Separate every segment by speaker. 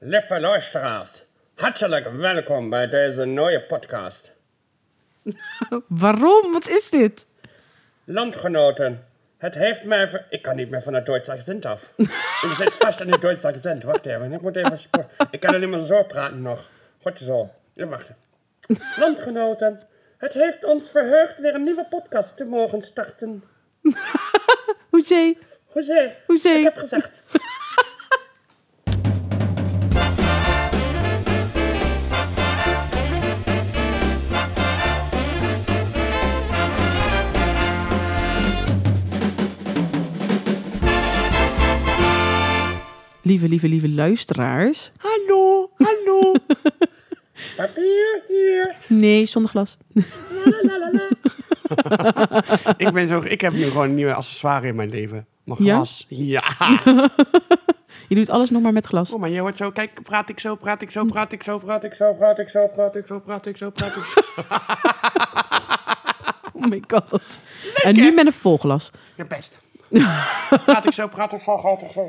Speaker 1: Lieve luisteraars, hartelijk welkom bij deze nieuwe podcast.
Speaker 2: Waarom? Wat is dit?
Speaker 1: Landgenoten, het heeft mij... ver- Ik kan niet meer van het Duitse accent af. ik zit vast in het Duitse accent. Wacht even, ik moet even... spo- Ik kan alleen maar zo praten nog. Goed zo. Ja, wacht. Landgenoten, het heeft ons verheugd weer een nieuwe podcast te mogen starten.
Speaker 2: Hoezee?
Speaker 1: Hoezé,
Speaker 2: Hoezee?
Speaker 1: ik heb gezegd.
Speaker 2: Lieve, lieve, lieve luisteraars. Hallo, hallo.
Speaker 1: Papier, hier.
Speaker 2: nee, zonder glas.
Speaker 1: La, la, la, la.
Speaker 3: Ik, ben zo, ik heb nu gewoon een nieuwe accessoire in mijn leven. Mijn
Speaker 2: Ja?
Speaker 3: glas. Ja.
Speaker 2: Je doet alles nog maar met glas.
Speaker 3: Oh, maar je hoort zo, kijk, praat ik zo, praat ik zo, praat ik zo, praat
Speaker 1: Praat ik zo, praat ik zo, praat ik.
Speaker 3: ik zo, praat ik zo, praat ik zo.
Speaker 2: Oh my god. En nu met een vol glas.
Speaker 3: Je best. Praat ik zo, praat ik zo, praat ik zo.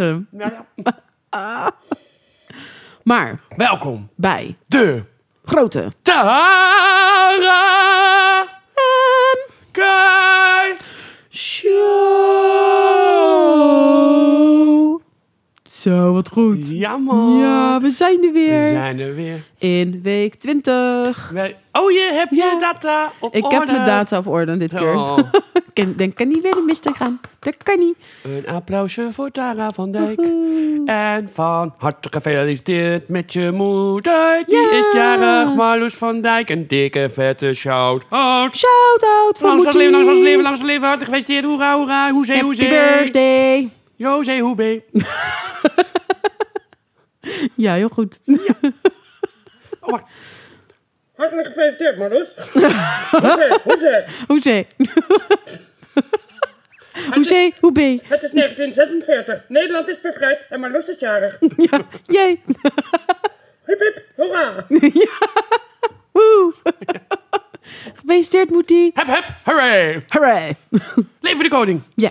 Speaker 3: Nou ja.
Speaker 2: Maar
Speaker 3: Welkom
Speaker 2: bij
Speaker 3: de
Speaker 2: grote
Speaker 3: Tara
Speaker 2: en
Speaker 3: Kai
Speaker 2: show. Oh. Zo, wat goed.
Speaker 3: Ja man.
Speaker 2: Ja, we zijn er
Speaker 3: We
Speaker 2: weer.
Speaker 3: zijn er weer.
Speaker 2: In week 20.
Speaker 3: Wij- Oh, je hebt
Speaker 2: Ja.
Speaker 3: je data op
Speaker 2: Ik
Speaker 3: orde.
Speaker 2: heb mijn data op orde dit keer.
Speaker 3: Oh.
Speaker 2: Ken- Dan kan niet weer de mist in gaan. Dat kan niet.
Speaker 3: Een applausje voor Tara van Dijk. En van harte gefeliciteerd met je moeder. Die
Speaker 2: Ja.
Speaker 3: is jarig, Marloes van Dijk. Een dikke vette shout out.
Speaker 2: Shout-out voor
Speaker 3: Langs het leven,
Speaker 2: Moetie.
Speaker 3: langs het leven, langs het leven. Hartelijk gefeliciteerd. Hoera, hoera. Hoezee,
Speaker 2: Happy
Speaker 3: hoezee.
Speaker 2: birthday.
Speaker 3: Jozee, hoebe.
Speaker 2: Ja, heel goed.
Speaker 3: Oh, wacht.
Speaker 1: Hartelijk gefeliciteerd, Marloes. Hoezé, hoezé.
Speaker 2: Hoezee. Hoezee,
Speaker 3: dus-
Speaker 2: hoe ben je?
Speaker 1: Het is 1946. Nederland is bevrijd en Marloes is jarig.
Speaker 2: Ja, jee.
Speaker 1: Hip hip, hoera.
Speaker 2: Woe. Gefeliciteerd, Moetie.
Speaker 3: Hep, hep, hooray.
Speaker 2: Hooray.
Speaker 3: Leven de koning.
Speaker 2: Ja.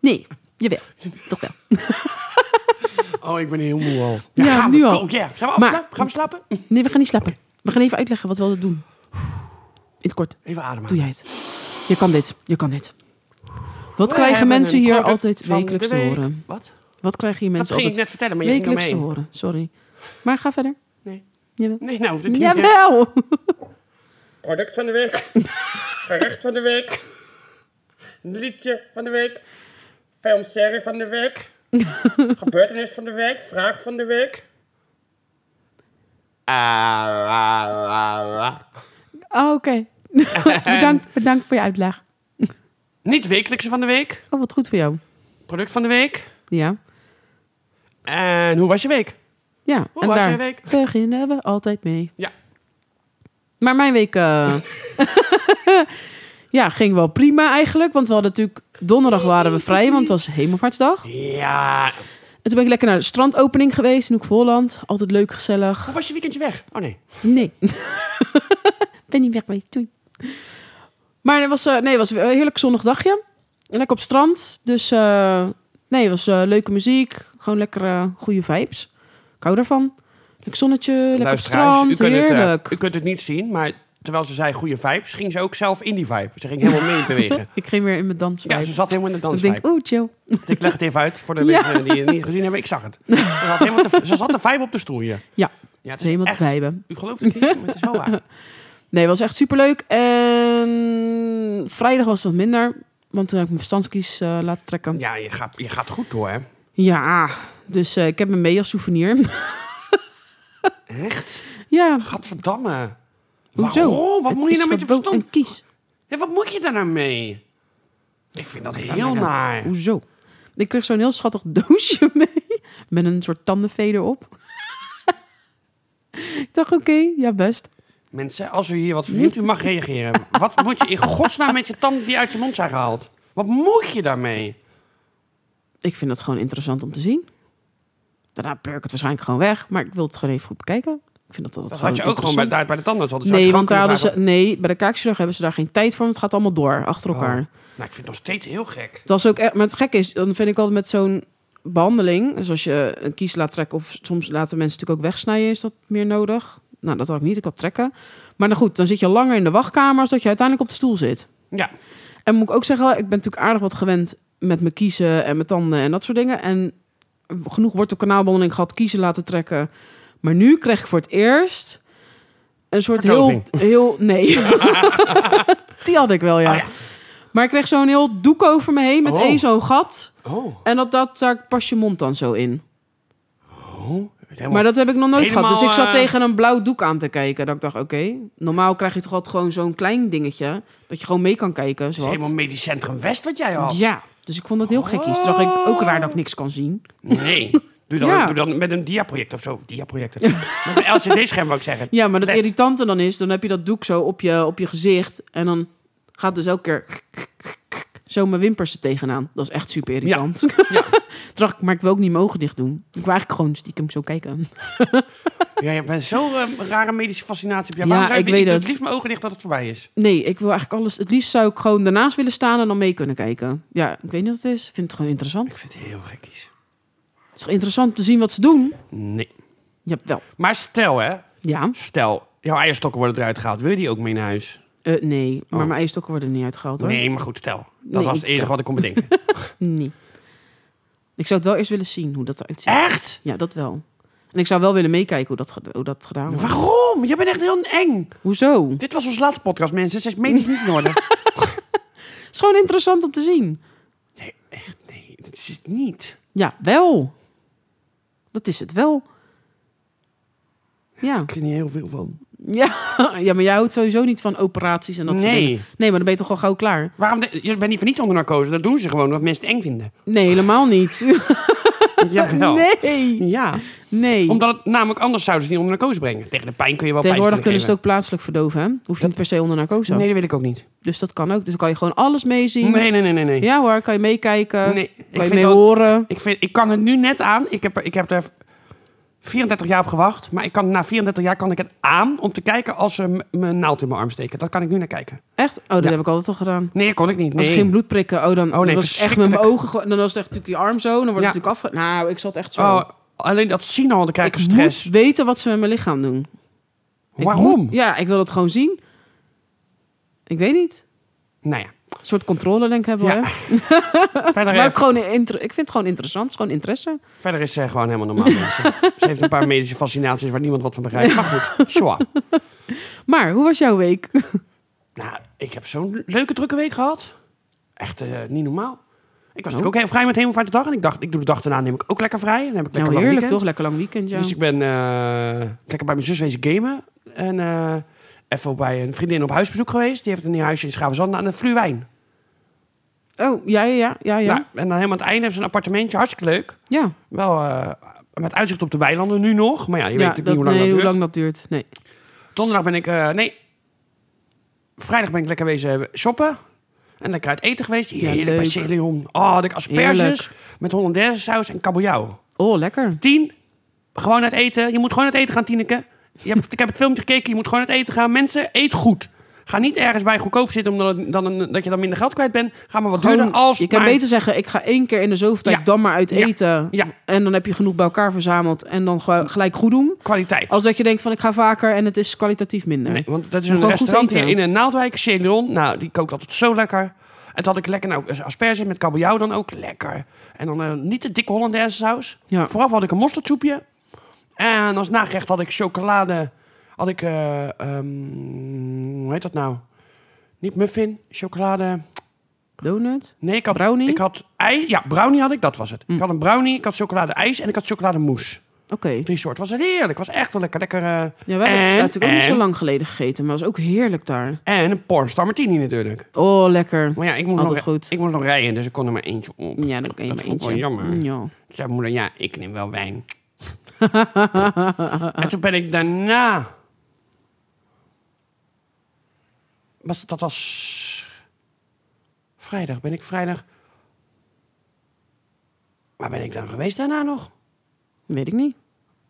Speaker 2: Nee, jawel. Toch wel.
Speaker 3: Oh, ik ben heel moe al.
Speaker 2: Ja,
Speaker 3: gaan we
Speaker 2: nu al.
Speaker 3: ko- Ja, gaan we
Speaker 2: Maar-
Speaker 3: afslapen? Gaan we slapen?
Speaker 2: Nee, we gaan niet slapen. We gaan even uitleggen wat we altijd doen. In het kort.
Speaker 3: Even ademen.
Speaker 2: Doe jij het. Je kan dit. Je kan dit. Wat
Speaker 3: We
Speaker 2: krijgen
Speaker 3: hebben
Speaker 2: mensen
Speaker 3: een
Speaker 2: hier
Speaker 3: product
Speaker 2: altijd
Speaker 3: van de
Speaker 2: wekelijks te
Speaker 3: week.
Speaker 2: horen?
Speaker 3: Wat?
Speaker 2: Wat krijgen hier
Speaker 3: Dat
Speaker 2: mensen
Speaker 3: ging ik
Speaker 2: altijd
Speaker 3: net vertellen, maar je ging
Speaker 2: wekelijks te
Speaker 3: ermee.
Speaker 2: horen? Sorry. Maar ga verder.
Speaker 3: Nee.
Speaker 2: Jawel.
Speaker 3: Nee, nou, dit
Speaker 2: Jawel!
Speaker 1: Product van de week. Gerecht van de week. Liedje van de week. Filmserie van de week. Gebeurtenis van de week. Vraag van de week.
Speaker 3: Ah, ah, ah, ah.
Speaker 2: Oh, oké. bedankt, bedankt voor je uitleg.
Speaker 3: Niet wekelijkse van de week.
Speaker 2: Oh, wat goed voor jou.
Speaker 3: Product van de week.
Speaker 2: Ja.
Speaker 3: En hoe was je week?
Speaker 2: Ja,
Speaker 3: Hoe
Speaker 2: en
Speaker 3: was
Speaker 2: daar
Speaker 3: je week?
Speaker 2: beginnen we altijd mee.
Speaker 3: Ja.
Speaker 2: Maar mijn week... eh, ja, ging wel prima eigenlijk. Want we hadden natuurlijk... Donderdag waren we vrij, want het was Hemelvaartsdag.
Speaker 3: Ja.
Speaker 2: En toen ben ik lekker naar de strandopening geweest in Hoek-Voorland. Altijd leuk, gezellig.
Speaker 3: Hoe was je weekendje weg? Oh nee.
Speaker 2: Nee. ben niet weg bij toen. Maar het was, eh, nee, het was een heerlijk zonnig dagje. Lekker op het strand. Dus eh, nee, het was eh, leuke muziek. Gewoon lekker eh, goede vibes. Ik hou daarvan. Lekker zonnetje, lekker op het strand.
Speaker 3: u, kunt het, eh,
Speaker 2: heerlijk.
Speaker 3: u kunt het niet zien, maar terwijl ze zei goede vibes, ging ze ook zelf in die vibe. Ze ging helemaal mee bewegen.
Speaker 2: ik ging weer in mijn dans.
Speaker 3: Ja, ze zat helemaal in de
Speaker 2: ik
Speaker 3: dansvibe.
Speaker 2: denk, oeh, chill.
Speaker 3: Ik, leg het even uit voor de
Speaker 2: Ja.
Speaker 3: mensen die het niet gezien hebben. Ik zag het. Ze zat, helemaal te, ze zat de vibe op de stoel hier.
Speaker 2: Ja,
Speaker 3: Ja, het
Speaker 2: dus helemaal te
Speaker 3: echt-
Speaker 2: viben.
Speaker 3: U gelooft het niet, maar het is wel waar.
Speaker 2: Nee, het was echt superleuk. En vrijdag was het wat minder. Want toen heb ik mijn verstandskies eh, laten trekken.
Speaker 3: Ja, je gaat, je gaat goed door, hè?
Speaker 2: Ja, dus eh, ik heb hem mee als souvenir.
Speaker 3: Echt?
Speaker 2: ja,
Speaker 3: Gadverdamme.
Speaker 2: hoezo?
Speaker 3: Waarom? Wat
Speaker 2: Het
Speaker 3: moet je
Speaker 2: is
Speaker 3: nou met je
Speaker 2: gewoon
Speaker 3: verstand?
Speaker 2: een kies.
Speaker 3: Ja, wat moet je daar nou mee? Ik vind dat heel
Speaker 2: Maar dan-
Speaker 3: naar.
Speaker 2: Hoezo? Ik kreeg zo'n heel schattig doosje mee. Met een soort tandenveder op. ik dacht, oké, ja best.
Speaker 3: Mensen, als u hier wat verdient, u mag reageren. Wat moet je in godsnaam met je tanden die uit zijn mond zijn gehaald? Wat moet je daarmee?
Speaker 2: Ik vind dat gewoon interessant om te zien. Daarna pleur ik het waarschijnlijk gewoon weg. Maar ik wil het gewoon even goed bekijken. Ik vind dat dat,
Speaker 3: Dat had je ook gewoon bij, daar bij de tandarts. Hadden ze-
Speaker 2: Nee,
Speaker 3: had
Speaker 2: want
Speaker 3: je
Speaker 2: daar
Speaker 3: gewoon
Speaker 2: hadden ze,
Speaker 3: kunnen
Speaker 2: nee, bij de kaakchirurg hebben ze daar geen tijd voor. Want het gaat
Speaker 3: Oh.
Speaker 2: allemaal door, achter elkaar.
Speaker 3: vragen. Nou, ik vind het nog steeds heel gek.
Speaker 2: Dat is ook echt, maar het gekke is, dan vind ik altijd met zo'n behandeling, dus als je een kies laat trekken of soms laten mensen natuurlijk ook wegsnijden, is dat meer nodig. Nou, dat had ik niet, ik had trekken. Maar nou goed, dan zit je langer in de wachtkamer als dat je uiteindelijk op de stoel zit.
Speaker 3: Ja.
Speaker 2: En moet ik ook zeggen, ik ben natuurlijk aardig wat gewend met mijn kiezen en mijn tanden en dat soort dingen. En genoeg wortelkanaalbehandeling gehad, kiezen laten trekken. Maar nu kreeg ik voor het eerst een soort heel,
Speaker 3: Verdoving.
Speaker 2: heel... Nee. Die had ik wel, ja.
Speaker 3: Oh ja.
Speaker 2: Maar ik kreeg zo'n heel doek over me heen met
Speaker 3: Oh.
Speaker 2: één zo'n gat.
Speaker 3: Oh.
Speaker 2: En dat, dat, daar pas je mond dan zo in.
Speaker 3: Helemaal-
Speaker 2: Maar dat heb ik nog nooit
Speaker 3: Oh. Helemaal,
Speaker 2: gehad. Dus ik zat
Speaker 3: eh,
Speaker 2: tegen een blauw doek aan te kijken. Dat ik dacht, oké, normaal krijg je toch altijd gewoon zo'n klein dingetje. Dat je gewoon mee kan kijken.
Speaker 3: Het is
Speaker 2: Zowat.
Speaker 3: helemaal medisch centrum West wat jij had.
Speaker 2: Ja, dus ik vond dat heel gekkies. Toen dacht ik, ook raar dat ik niks kan zien.
Speaker 3: Nee. Doe dan,
Speaker 2: Ja.
Speaker 3: doe dan met een diaproject of zo. Diaprojector. met een LCD-scherm wou ik zeggen.
Speaker 2: Ja, maar dat
Speaker 3: Net.
Speaker 2: irritante dan is, dan heb je dat doek zo op je, op je gezicht. En dan gaat dus elke keer zo mijn wimpers er tegenaan. Dat is echt super irritant.
Speaker 3: Ja.
Speaker 2: Toen dacht ik, maar ik wil ook niet mijn ogen dicht doen. Ik wil eigenlijk gewoon stiekem zo kijken.
Speaker 3: Ja, je bent zo'n eh, rare medische fascinatie. Op jou.
Speaker 2: Ja,
Speaker 3: Waarom zou je-
Speaker 2: ik weet
Speaker 3: doe
Speaker 2: het.
Speaker 3: het liefst mijn ogen dicht dat het voorbij is.
Speaker 2: Nee, ik wil eigenlijk alles... Het liefst zou ik gewoon daarnaast willen staan en dan mee kunnen kijken. Ja, ik weet niet wat het is. Ik vind het gewoon interessant.
Speaker 3: Ik vind het heel gekkies.
Speaker 2: Het is toch interessant om te zien wat ze doen?
Speaker 3: Nee.
Speaker 2: Ja, wel.
Speaker 3: Maar stel hè,
Speaker 2: Ja.
Speaker 3: stel, jouw eierstokken worden eruit gehaald. Wil je die ook mee naar huis?
Speaker 2: Eh, nee, maar
Speaker 3: Oh.
Speaker 2: mijn eierstokken worden er niet uitgehaald hoor.
Speaker 3: Nee, maar goed, stel. Dat
Speaker 2: Nee,
Speaker 3: was
Speaker 2: niet
Speaker 3: het enige
Speaker 2: stel.
Speaker 3: wat ik kon bedenken.
Speaker 2: Nee. Ik zou het wel eerst willen zien hoe dat eruit ziet.
Speaker 3: Echt?
Speaker 2: Ja, dat wel. En ik zou wel willen meekijken hoe dat, ge- hoe dat gedaan wordt.
Speaker 3: Waarom? Je bent echt heel eng.
Speaker 2: Hoezo?
Speaker 3: Dit was ons laatste podcast, mensen. Ze is medisch niet in orde.
Speaker 2: Het is gewoon interessant om te zien.
Speaker 3: Nee, echt nee. Dit is het niet.
Speaker 2: Ja, wel. Dat is het wel. Ja.
Speaker 3: Ik ken niet heel veel van.
Speaker 2: Ja. ja, maar jij houdt sowieso niet van operaties en dat soort
Speaker 3: Nee.
Speaker 2: dingen. Nee, maar dan ben je toch al gauw klaar?
Speaker 3: Waarom? De, je bent niet voor niets onder narcose. Dat doen ze gewoon omdat mensen het eng vinden.
Speaker 2: Nee, helemaal niet.
Speaker 3: Jawel.
Speaker 2: Nee.
Speaker 3: Ja.
Speaker 2: Nee.
Speaker 3: Omdat het namelijk anders zouden ze niet onder narcose brengen. Tegen de pijn kun je wel
Speaker 2: Tegenwoordig kunnen ze het
Speaker 3: pijnstilling
Speaker 2: ook plaatselijk verdoven, hè? Hoef je niet per se onder narcose.
Speaker 3: geven. Nee, dat wil ik ook niet.
Speaker 2: Dus dat kan ook. Dus dan kan je gewoon alles meezien.
Speaker 3: Nee, nee, nee, nee. nee.
Speaker 2: Mm. Ja hoor, kan je meekijken.
Speaker 3: Nee, ik
Speaker 2: kan je
Speaker 3: vind
Speaker 2: mee
Speaker 3: dat-
Speaker 2: horen.
Speaker 3: Ik, vind, ik kan het nu net aan. Ik heb, er- ik heb er 34 jaar op gewacht. Maar ik kan, na 34 jaar kan ik het aan om te kijken als ze m- mijn naald in mijn arm steken. Dat kan ik nu naar kijken.
Speaker 2: Echt? Oh, dat
Speaker 3: Ja.
Speaker 2: heb ik altijd al gedaan.
Speaker 3: Nee, dat kon ik niet.
Speaker 2: Als
Speaker 3: Nee.
Speaker 2: ik geen bloed prikken, oh dan
Speaker 3: Oh,
Speaker 2: dat
Speaker 3: nee,
Speaker 2: was echt met mijn ogen. gewoon- Dan was het echt natuurlijk je arm zo. Dan wordt
Speaker 3: Ja.
Speaker 2: het natuurlijk afge... Nou, ik zat echt zo.
Speaker 3: Oh, alleen dat zien al, dan krijg ik,
Speaker 2: ik
Speaker 3: stress.
Speaker 2: moet weten wat ze met mijn lichaam doen. Ik
Speaker 3: Waarom?
Speaker 2: moet- ja, ik wil het gewoon zien. Ik weet niet.
Speaker 3: Nou ja,
Speaker 2: Een soort controle denk ik hebben we,
Speaker 3: Ja. nou
Speaker 2: hè?
Speaker 3: verder,
Speaker 2: Maar
Speaker 3: eh,
Speaker 2: ook gewoon een inter- ik vind het gewoon interessant. Het is gewoon interesse.
Speaker 3: verder is ze gewoon helemaal normaal. mensen. Ze heeft een paar medische fascinaties waar niemand wat van begrijpt. Maar goed, Sjoa.
Speaker 2: Maar, hoe was jouw week?
Speaker 3: Nou, ik heb zo'n leuke drukke week gehad. Echt eh, niet normaal. Ik was
Speaker 2: Oh.
Speaker 3: natuurlijk ook heel vrij met hemelvaartdag. En ik dacht, ik doe de dag daarna neem ik ook lekker vrij. Dan heb ik lekker
Speaker 2: nou,
Speaker 3: lang
Speaker 2: heerlijk
Speaker 3: weekend.
Speaker 2: toch? Lekker lang weekend, ja.
Speaker 3: Dus ik ben eh, lekker bij mijn zus wezen gamen. En eh, even bij een vriendin op huisbezoek geweest. Die heeft een nieuw huisje in Schavenzand aan de Fluwijn.
Speaker 2: Oh, ja, ja, ja, ja. Ja.
Speaker 3: Nou, en dan helemaal aan het einde heeft ze een appartementje. Hartstikke leuk.
Speaker 2: ja.
Speaker 3: Wel eh, met uitzicht op de weilanden nu nog. Maar ja, je
Speaker 2: Ja,
Speaker 3: weet natuurlijk
Speaker 2: dat-
Speaker 3: niet hoe lang
Speaker 2: nee,
Speaker 3: dat
Speaker 2: hoe
Speaker 3: duurt.
Speaker 2: lang dat duurt. Nee.
Speaker 3: Donderdag ben ik... eh, nee, vrijdag ben ik lekker wezen shoppen. En lekker uit eten geweest. Heerlijk bij
Speaker 2: leuk.
Speaker 3: Celion. Oh, de asperges
Speaker 2: Heerlijk.
Speaker 3: met Hollandaise saus en kabeljauw.
Speaker 2: Oh, lekker.
Speaker 3: Tien, gewoon uit eten. Je moet gewoon uit eten gaan, Tineke. Je hebt, ik heb het filmpje gekeken, je moet gewoon uit eten gaan. Mensen, eet goed. Ga niet ergens bij goedkoop zitten omdat het- dan een- dat je dan minder geld kwijt bent. Ga maar wat
Speaker 2: Gewoon,
Speaker 3: duurder als
Speaker 2: je kan
Speaker 3: maar-
Speaker 2: beter zeggen, ik ga één keer in de zoveel tijd
Speaker 3: Ja.
Speaker 2: dan maar uit
Speaker 3: Ja.
Speaker 2: eten.
Speaker 3: Ja.
Speaker 2: En dan heb je genoeg bij elkaar verzameld en dan gewoon gelijk goed doen.
Speaker 3: kwaliteit.
Speaker 2: Als dat je denkt van, ik ga vaker en het is kwalitatief minder.
Speaker 3: Nee, want dat is
Speaker 2: Gewoon
Speaker 3: een
Speaker 2: goed
Speaker 3: restaurant hier
Speaker 2: eten.
Speaker 3: in eh, Naaldwijk, Celion. Nou, die kookt altijd zo lekker. En toen had ik lekker nou, asperges met kabeljauw dan ook. Lekker. En dan eh, niet de dikke Hollandaise saus.
Speaker 2: Ja.
Speaker 3: Vooraf had ik een mosterdsoepje. En als nagerecht had ik chocolade. Had ik, eh, ehm, hoe heet dat nou? Niet muffin, chocolade.
Speaker 2: Donut?
Speaker 3: Nee, ik had
Speaker 2: Brownie? Hm.
Speaker 3: Ik had ei. Ja, brownie had ik, dat was het. Ik had een brownie, ik had chocolade ijs en ik had chocolade mousse.
Speaker 2: Oké.
Speaker 3: Drie soorten. Was het heerlijk. Was echt wel lekker. Lekker. eh,
Speaker 2: Ja, we hebben
Speaker 3: en,
Speaker 2: ja, natuurlijk ook niet zo
Speaker 3: en-
Speaker 2: lang geleden gegeten, maar was ook heerlijk daar.
Speaker 3: En een pornstar martini natuurlijk.
Speaker 2: Oh, lekker.
Speaker 3: Maar ja, ik moest, nog,
Speaker 2: Altijd goed.
Speaker 3: ik moest nog rijden, dus ik kon er maar eentje op.
Speaker 2: Ja, dan kan je maar
Speaker 3: Dat vond
Speaker 2: eentje.
Speaker 3: ik wel jammer.
Speaker 2: Ja.
Speaker 3: Toen zei mijn moeder, ja, ik neem wel wijn. en toen ben ik daarna... Was, het- dat was... Vrijdag, ben ik vrijdag... Waar ben ik dan geweest daarna nog?
Speaker 2: Weet ik niet.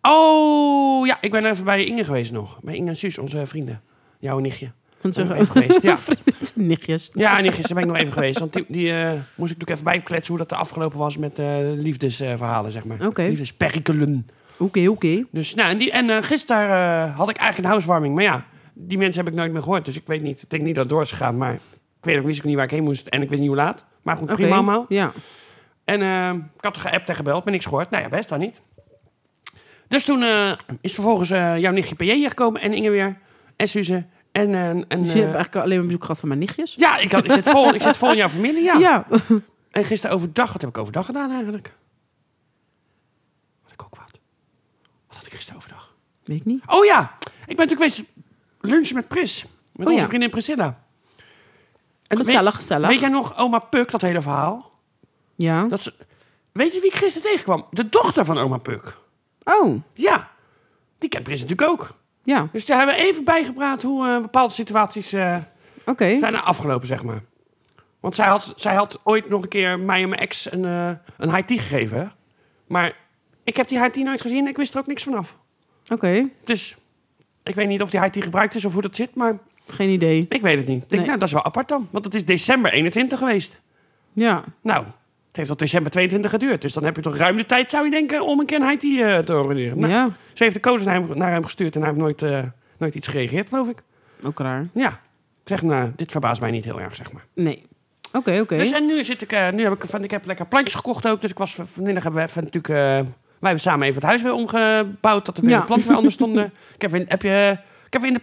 Speaker 3: Oh, ja, ik ben even bij Inge geweest nog. Bij Inge en Suus, onze vrienden. Jouw nichtje.
Speaker 2: Want
Speaker 3: Ben ik
Speaker 2: ze-
Speaker 3: even geweest, ja.
Speaker 2: Vriend. Nichtjes.
Speaker 3: Ja, en gisteren ben ik nog even geweest. Want die, die eh, moest ik natuurlijk even bijkletsen hoe dat er afgelopen was met eh, liefdesverhalen, zeg maar.
Speaker 2: Oké.
Speaker 3: Liefdesperikelen.
Speaker 2: Oké, oké.
Speaker 3: Dus, nou, en die, en eh, gisteren eh, had ik eigenlijk een housewarming. Maar ja, die mensen heb ik nooit meer gehoord. Dus ik weet niet, ik denk niet dat het door is gegaan. Maar ik weet ook, wist ook niet waar ik heen moest. En ik wist niet hoe laat. Maar goed,
Speaker 2: Oké.
Speaker 3: prima allemaal.
Speaker 2: Ja.
Speaker 3: En eh, ik had geappt en gebeld, maar niks gehoord. Nou ja, best dan niet. Dus toen eh, is vervolgens eh, jouw nichtje PJ hier gekomen en Inge weer. En Suze. En, eh, en,
Speaker 2: Dus je
Speaker 3: eh,
Speaker 2: hebt eigenlijk alleen maar bezoek gehad van mijn nichtjes.
Speaker 3: ja, ik, had, ik, zit vol, ik zit vol in jouw familie, ja.
Speaker 2: Ja.
Speaker 3: En gisteren overdag, wat heb ik overdag gedaan eigenlijk? Had ik ook wat? Wat had ik gisteren overdag?
Speaker 2: Weet ik niet.
Speaker 3: Oh ja, ik ben natuurlijk geweest lunchen met Pris. Met
Speaker 2: Oh
Speaker 3: onze
Speaker 2: ja.
Speaker 3: vriendin Priscilla. En weet,
Speaker 2: Gezellig, gezellig.
Speaker 3: weet jij nog oma Puk, dat hele verhaal?
Speaker 2: Ja.
Speaker 3: Dat ze, weet je wie ik gisteren tegenkwam? De dochter van oma Puk.
Speaker 2: Oh,
Speaker 3: Ja, die kent Pris natuurlijk ook.
Speaker 2: ja.
Speaker 3: Dus daar hebben we even bijgepraat hoe eh, bepaalde situaties eh,
Speaker 2: Oké.
Speaker 3: zijn afgelopen, zeg maar. Want zij had, zij had ooit nog een keer mij en mijn ex een, eh een high tea gegeven. hè. Maar ik heb die high tea nooit gezien en ik wist er ook niks vanaf.
Speaker 2: Oké.
Speaker 3: Dus ik weet niet of die high tea gebruikt is of hoe dat zit, maar
Speaker 2: Geen idee.
Speaker 3: ik weet het niet. Ik denk,
Speaker 2: Nee.
Speaker 3: nou, dat is wel apart dan. Want het is december 21 geweest.
Speaker 2: Ja.
Speaker 3: Nou, het heeft tot december 22 geduurd. Dus dan heb je toch ruim de tijd, zou je denken, om een keer een high tea eh, te organiseren. Nou,
Speaker 2: Ja.
Speaker 3: Ze heeft de kozen naar hem, naar hem gestuurd en hij heeft nooit, eh, nooit iets gereageerd, geloof ik.
Speaker 2: Ook raar.
Speaker 3: Ja, ik zeg, nou, dit verbaast mij niet heel erg, zeg maar.
Speaker 2: Nee. Oké, oké.
Speaker 3: Dus en nu zit ik, eh, nu heb ik van, ik heb lekker plantjes gekocht ook. Dus ik was van- vanmiddag hebben we even natuurlijk, eh, wij hebben samen even het huis weer omgebouwd, dat er weer
Speaker 2: Ja.
Speaker 3: de planten weer anders stonden. ik heb in, heb je, ik heb in de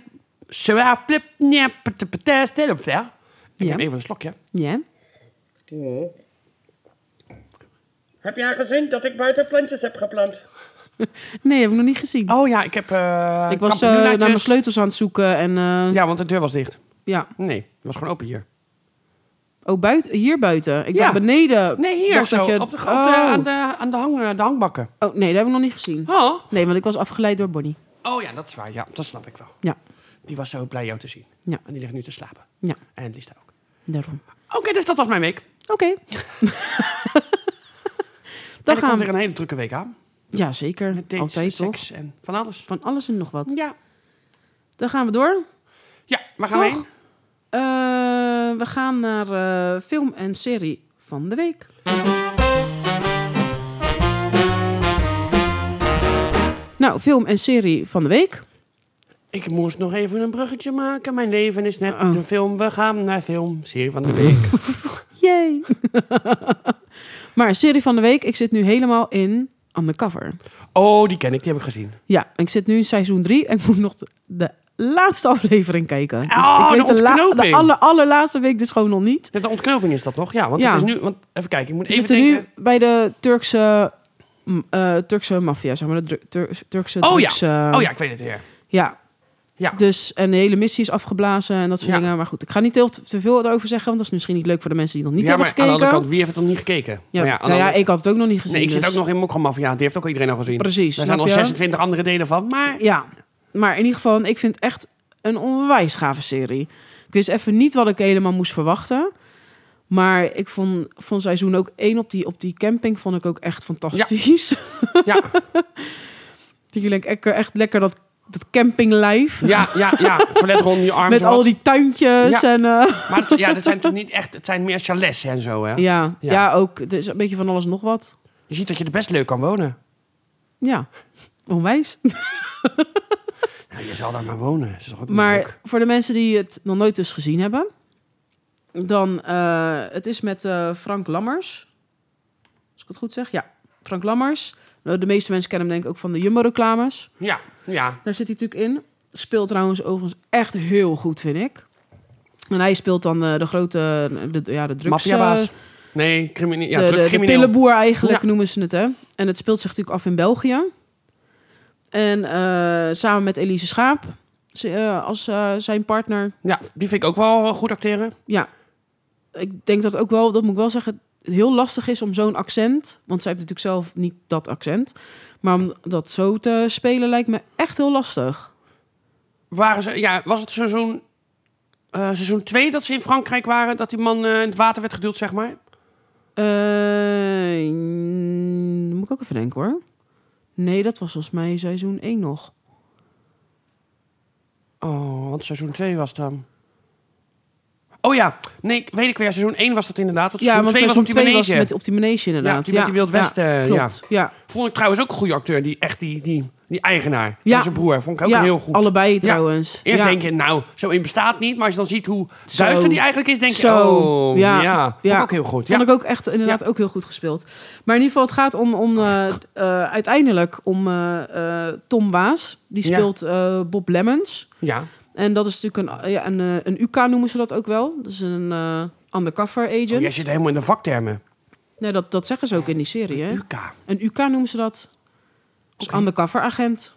Speaker 3: zwaar plip, ja, pet- pet- pet- stil op, ja.
Speaker 2: Ja.
Speaker 3: Ik neem even een slokje.
Speaker 2: Ja.
Speaker 1: Heb jij gezien dat ik buiten plantjes heb geplant?
Speaker 2: Nee, heb ik nog niet gezien.
Speaker 3: Oh ja, ik heb. eh,
Speaker 2: ik was eh, naar
Speaker 3: campanulaatjes.
Speaker 2: mijn sleutels aan het zoeken en eh, ja.
Speaker 3: Ja, want de deur was dicht. Nee, het was gewoon open hier.
Speaker 2: Oh, buiten, hier buiten. Ik
Speaker 3: Ja.
Speaker 2: dacht beneden.
Speaker 3: Nee, hier
Speaker 2: Dacht
Speaker 3: zo,
Speaker 2: dat je-
Speaker 3: op de, op de-
Speaker 2: Oh.
Speaker 3: aan, de, aan de, hang, eh, de hangbakken.
Speaker 2: Oh, nee, dat heb ik nog niet gezien.
Speaker 3: Oh.
Speaker 2: Nee, want ik was afgeleid door Bonnie.
Speaker 3: oh ja, dat is waar. Ja, dat snap ik wel.
Speaker 2: Ja.
Speaker 3: Die was zo blij jou te zien.
Speaker 2: Ja.
Speaker 3: En die ligt nu te slapen.
Speaker 2: Ja,
Speaker 3: En Lisa ook.
Speaker 2: daarom.
Speaker 3: Oké, dus dat was mijn week.
Speaker 2: Oké.
Speaker 3: Dan
Speaker 2: Dan
Speaker 3: er komt
Speaker 2: gaan
Speaker 3: weer
Speaker 2: we.
Speaker 3: een hele drukke week aan.
Speaker 2: Ja, zeker.
Speaker 3: Met dates,
Speaker 2: Altijd, toch?
Speaker 3: seks en van alles.
Speaker 2: Van alles en nog wat.
Speaker 3: Ja,
Speaker 2: Dan gaan we door.
Speaker 3: ja waar gaan we
Speaker 2: Toch?
Speaker 3: heen?
Speaker 2: Eh, we gaan naar eh, film en serie van de week. Nou, film en serie van de week.
Speaker 3: Ik moest nog even een bruggetje maken. Mijn leven is net
Speaker 2: Oh.
Speaker 3: een film. We gaan naar film. Serie van de week.
Speaker 2: Yay! maar serie van de week, ik zit nu helemaal in Undercover.
Speaker 3: oh, die ken ik. Die heb ik gezien.
Speaker 2: Ja, ik zit nu in seizoen 3 en ik moet nog de, de laatste aflevering kijken. Dus
Speaker 3: Oh,
Speaker 2: ik
Speaker 3: de ontknoping.
Speaker 2: de aller, allerlaatste week dus gewoon nog niet.
Speaker 3: Ja, De ontknoping is dat nog? Ja, want
Speaker 2: Ja.
Speaker 3: het is nu... Want, even kijken, ik moet
Speaker 2: We
Speaker 3: even
Speaker 2: zitten
Speaker 3: denken.
Speaker 2: nu bij de Turkse, m, eh, Turkse maffia, zeg maar. De Dru- Tur- Turkse
Speaker 3: Oh,
Speaker 2: drugs, eh,
Speaker 3: Oh ja, ik weet het weer.
Speaker 2: ja.
Speaker 3: Ja.
Speaker 2: Dus, en de hele missie is afgeblazen en dat soort
Speaker 3: Ja.
Speaker 2: dingen. Maar goed, ik ga niet heel te veel erover zeggen, want dat is misschien niet leuk voor de mensen die nog niet
Speaker 3: ja,
Speaker 2: hebben
Speaker 3: maar aan de
Speaker 2: gekeken.
Speaker 3: andere kant, wie heeft het nog niet gekeken?
Speaker 2: ja,
Speaker 3: Maar aan de
Speaker 2: nou ja,
Speaker 3: andere-
Speaker 2: ik had het ook nog niet gezien.
Speaker 3: nee, ik zit
Speaker 2: dus-
Speaker 3: ook nog in Mokka Mafia. Die heeft ook iedereen al gezien.
Speaker 2: Precies.
Speaker 3: Er zijn
Speaker 2: snap
Speaker 3: al
Speaker 2: je?
Speaker 3: 26 andere delen van, maar...
Speaker 2: Ja, maar in ieder geval, ik vind het echt een onwijs gave serie. Ik wist even niet wat ik helemaal moest verwachten. Maar ik vond van seizoen ook één op die, op die camping vond ik ook echt fantastisch.
Speaker 3: Ja,
Speaker 2: Dat jullie echt, echt lekker dat, dat campinglijf.
Speaker 3: ja, ja. ja. Toilet rond je arm.
Speaker 2: met
Speaker 3: zo wat.
Speaker 2: al die tuintjes
Speaker 3: Ja.
Speaker 2: en... eh,
Speaker 3: Maar het, ja, dat zijn natuurlijk niet echt... Het zijn meer chalets en zo, hè?
Speaker 2: ja,
Speaker 3: Ja.
Speaker 2: ja. ook. Het is een beetje van alles nog wat.
Speaker 3: Je ziet dat je er best leuk kan wonen.
Speaker 2: Ja, onwijs.
Speaker 3: Nou, je zal daar maar wonen. Dat is toch ook
Speaker 2: Maar
Speaker 3: leuk?
Speaker 2: voor de mensen die het nog nooit dus gezien hebben... Dan, eh, het is met eh, Frank Lammers. Als ik het goed zeg, ja. Frank Lammers. Nou, De meeste mensen kennen hem denk ik ook van de Jumbo-reclames.
Speaker 3: Ja, ja.
Speaker 2: Daar zit hij natuurlijk in. Speelt trouwens overigens echt heel goed, vind ik. En hij speelt dan eh, de grote, de, ja, de drugs... eh,
Speaker 3: Maffiabaas. Nee, crimineel. Ja,
Speaker 2: de,
Speaker 3: druk
Speaker 2: de, de
Speaker 3: crimineel.
Speaker 2: pillenboer eigenlijk
Speaker 3: Ja.
Speaker 2: noemen ze het, hè. En het speelt zich natuurlijk af in België. En eh, samen met Elise Schaap ze- eh, als eh, zijn partner.
Speaker 3: Ja, die vind ik ook wel eh, goed acteren.
Speaker 2: Ja, ik denk dat ook wel, dat moet ik wel zeggen, het heel lastig is om zo'n accent... want zij heeft natuurlijk zelf niet dat accent... maar om dat zo te spelen lijkt me echt heel lastig.
Speaker 3: Waren ze, ja, was het seizoen... eh, seizoen 2 dat ze in Frankrijk waren, dat die man eh, in het water werd geduwd, zeg maar.
Speaker 2: Eh, mm, moet ik ook even denken, hoor. Nee, dat was volgens mij seizoen 1 nog.
Speaker 3: Oh, want seizoen 2 was dan. Oh ja, nee, ik weet ik weer. Seizoen 1 was dat inderdaad. Want
Speaker 2: Ja,
Speaker 3: seizoen
Speaker 2: want
Speaker 3: 2 was
Speaker 2: seizoen
Speaker 3: op die
Speaker 2: 2 was
Speaker 3: manege.
Speaker 2: met op die manege inderdaad.
Speaker 3: die met die Wild Westen,
Speaker 2: Ja,
Speaker 3: eh,
Speaker 2: klopt. Ja.
Speaker 3: Vond ik trouwens ook een goede acteur. Die, echt die, die, die eigenaar.
Speaker 2: Ja.
Speaker 3: En zijn broer. Vond ik ook
Speaker 2: Ja,
Speaker 3: heel goed.
Speaker 2: allebei trouwens.
Speaker 3: Eerst
Speaker 2: Ja.
Speaker 3: denk je, nou, zo in bestaat niet. Maar als je dan ziet hoe
Speaker 2: Zo.
Speaker 3: zuister die eigenlijk is, denk je,
Speaker 2: Zo.
Speaker 3: oh, ja.
Speaker 2: Ja.
Speaker 3: Vond ik
Speaker 2: Ja.
Speaker 3: ook heel goed.
Speaker 2: Vond
Speaker 3: ja. Oh,
Speaker 2: ik ook echt inderdaad ook heel goed gespeeld. Maar in ieder geval, het gaat om, om eh, eh, uiteindelijk om eh, eh, Tom Waas. Die
Speaker 3: Ja.
Speaker 2: speelt eh, Bob Lemmens.
Speaker 3: ja. Oh,
Speaker 2: En dat is natuurlijk een, ja, een, eh, een UK noemen ze dat ook wel. Dus een eh, undercover agent.
Speaker 3: Oh, jij zit helemaal in de vaktermen.
Speaker 2: nee, dat, dat zeggen ze ook in die serie. Hè?
Speaker 3: UK.
Speaker 2: Een UK noemen ze dat. Als
Speaker 3: Oké.
Speaker 2: undercover agent.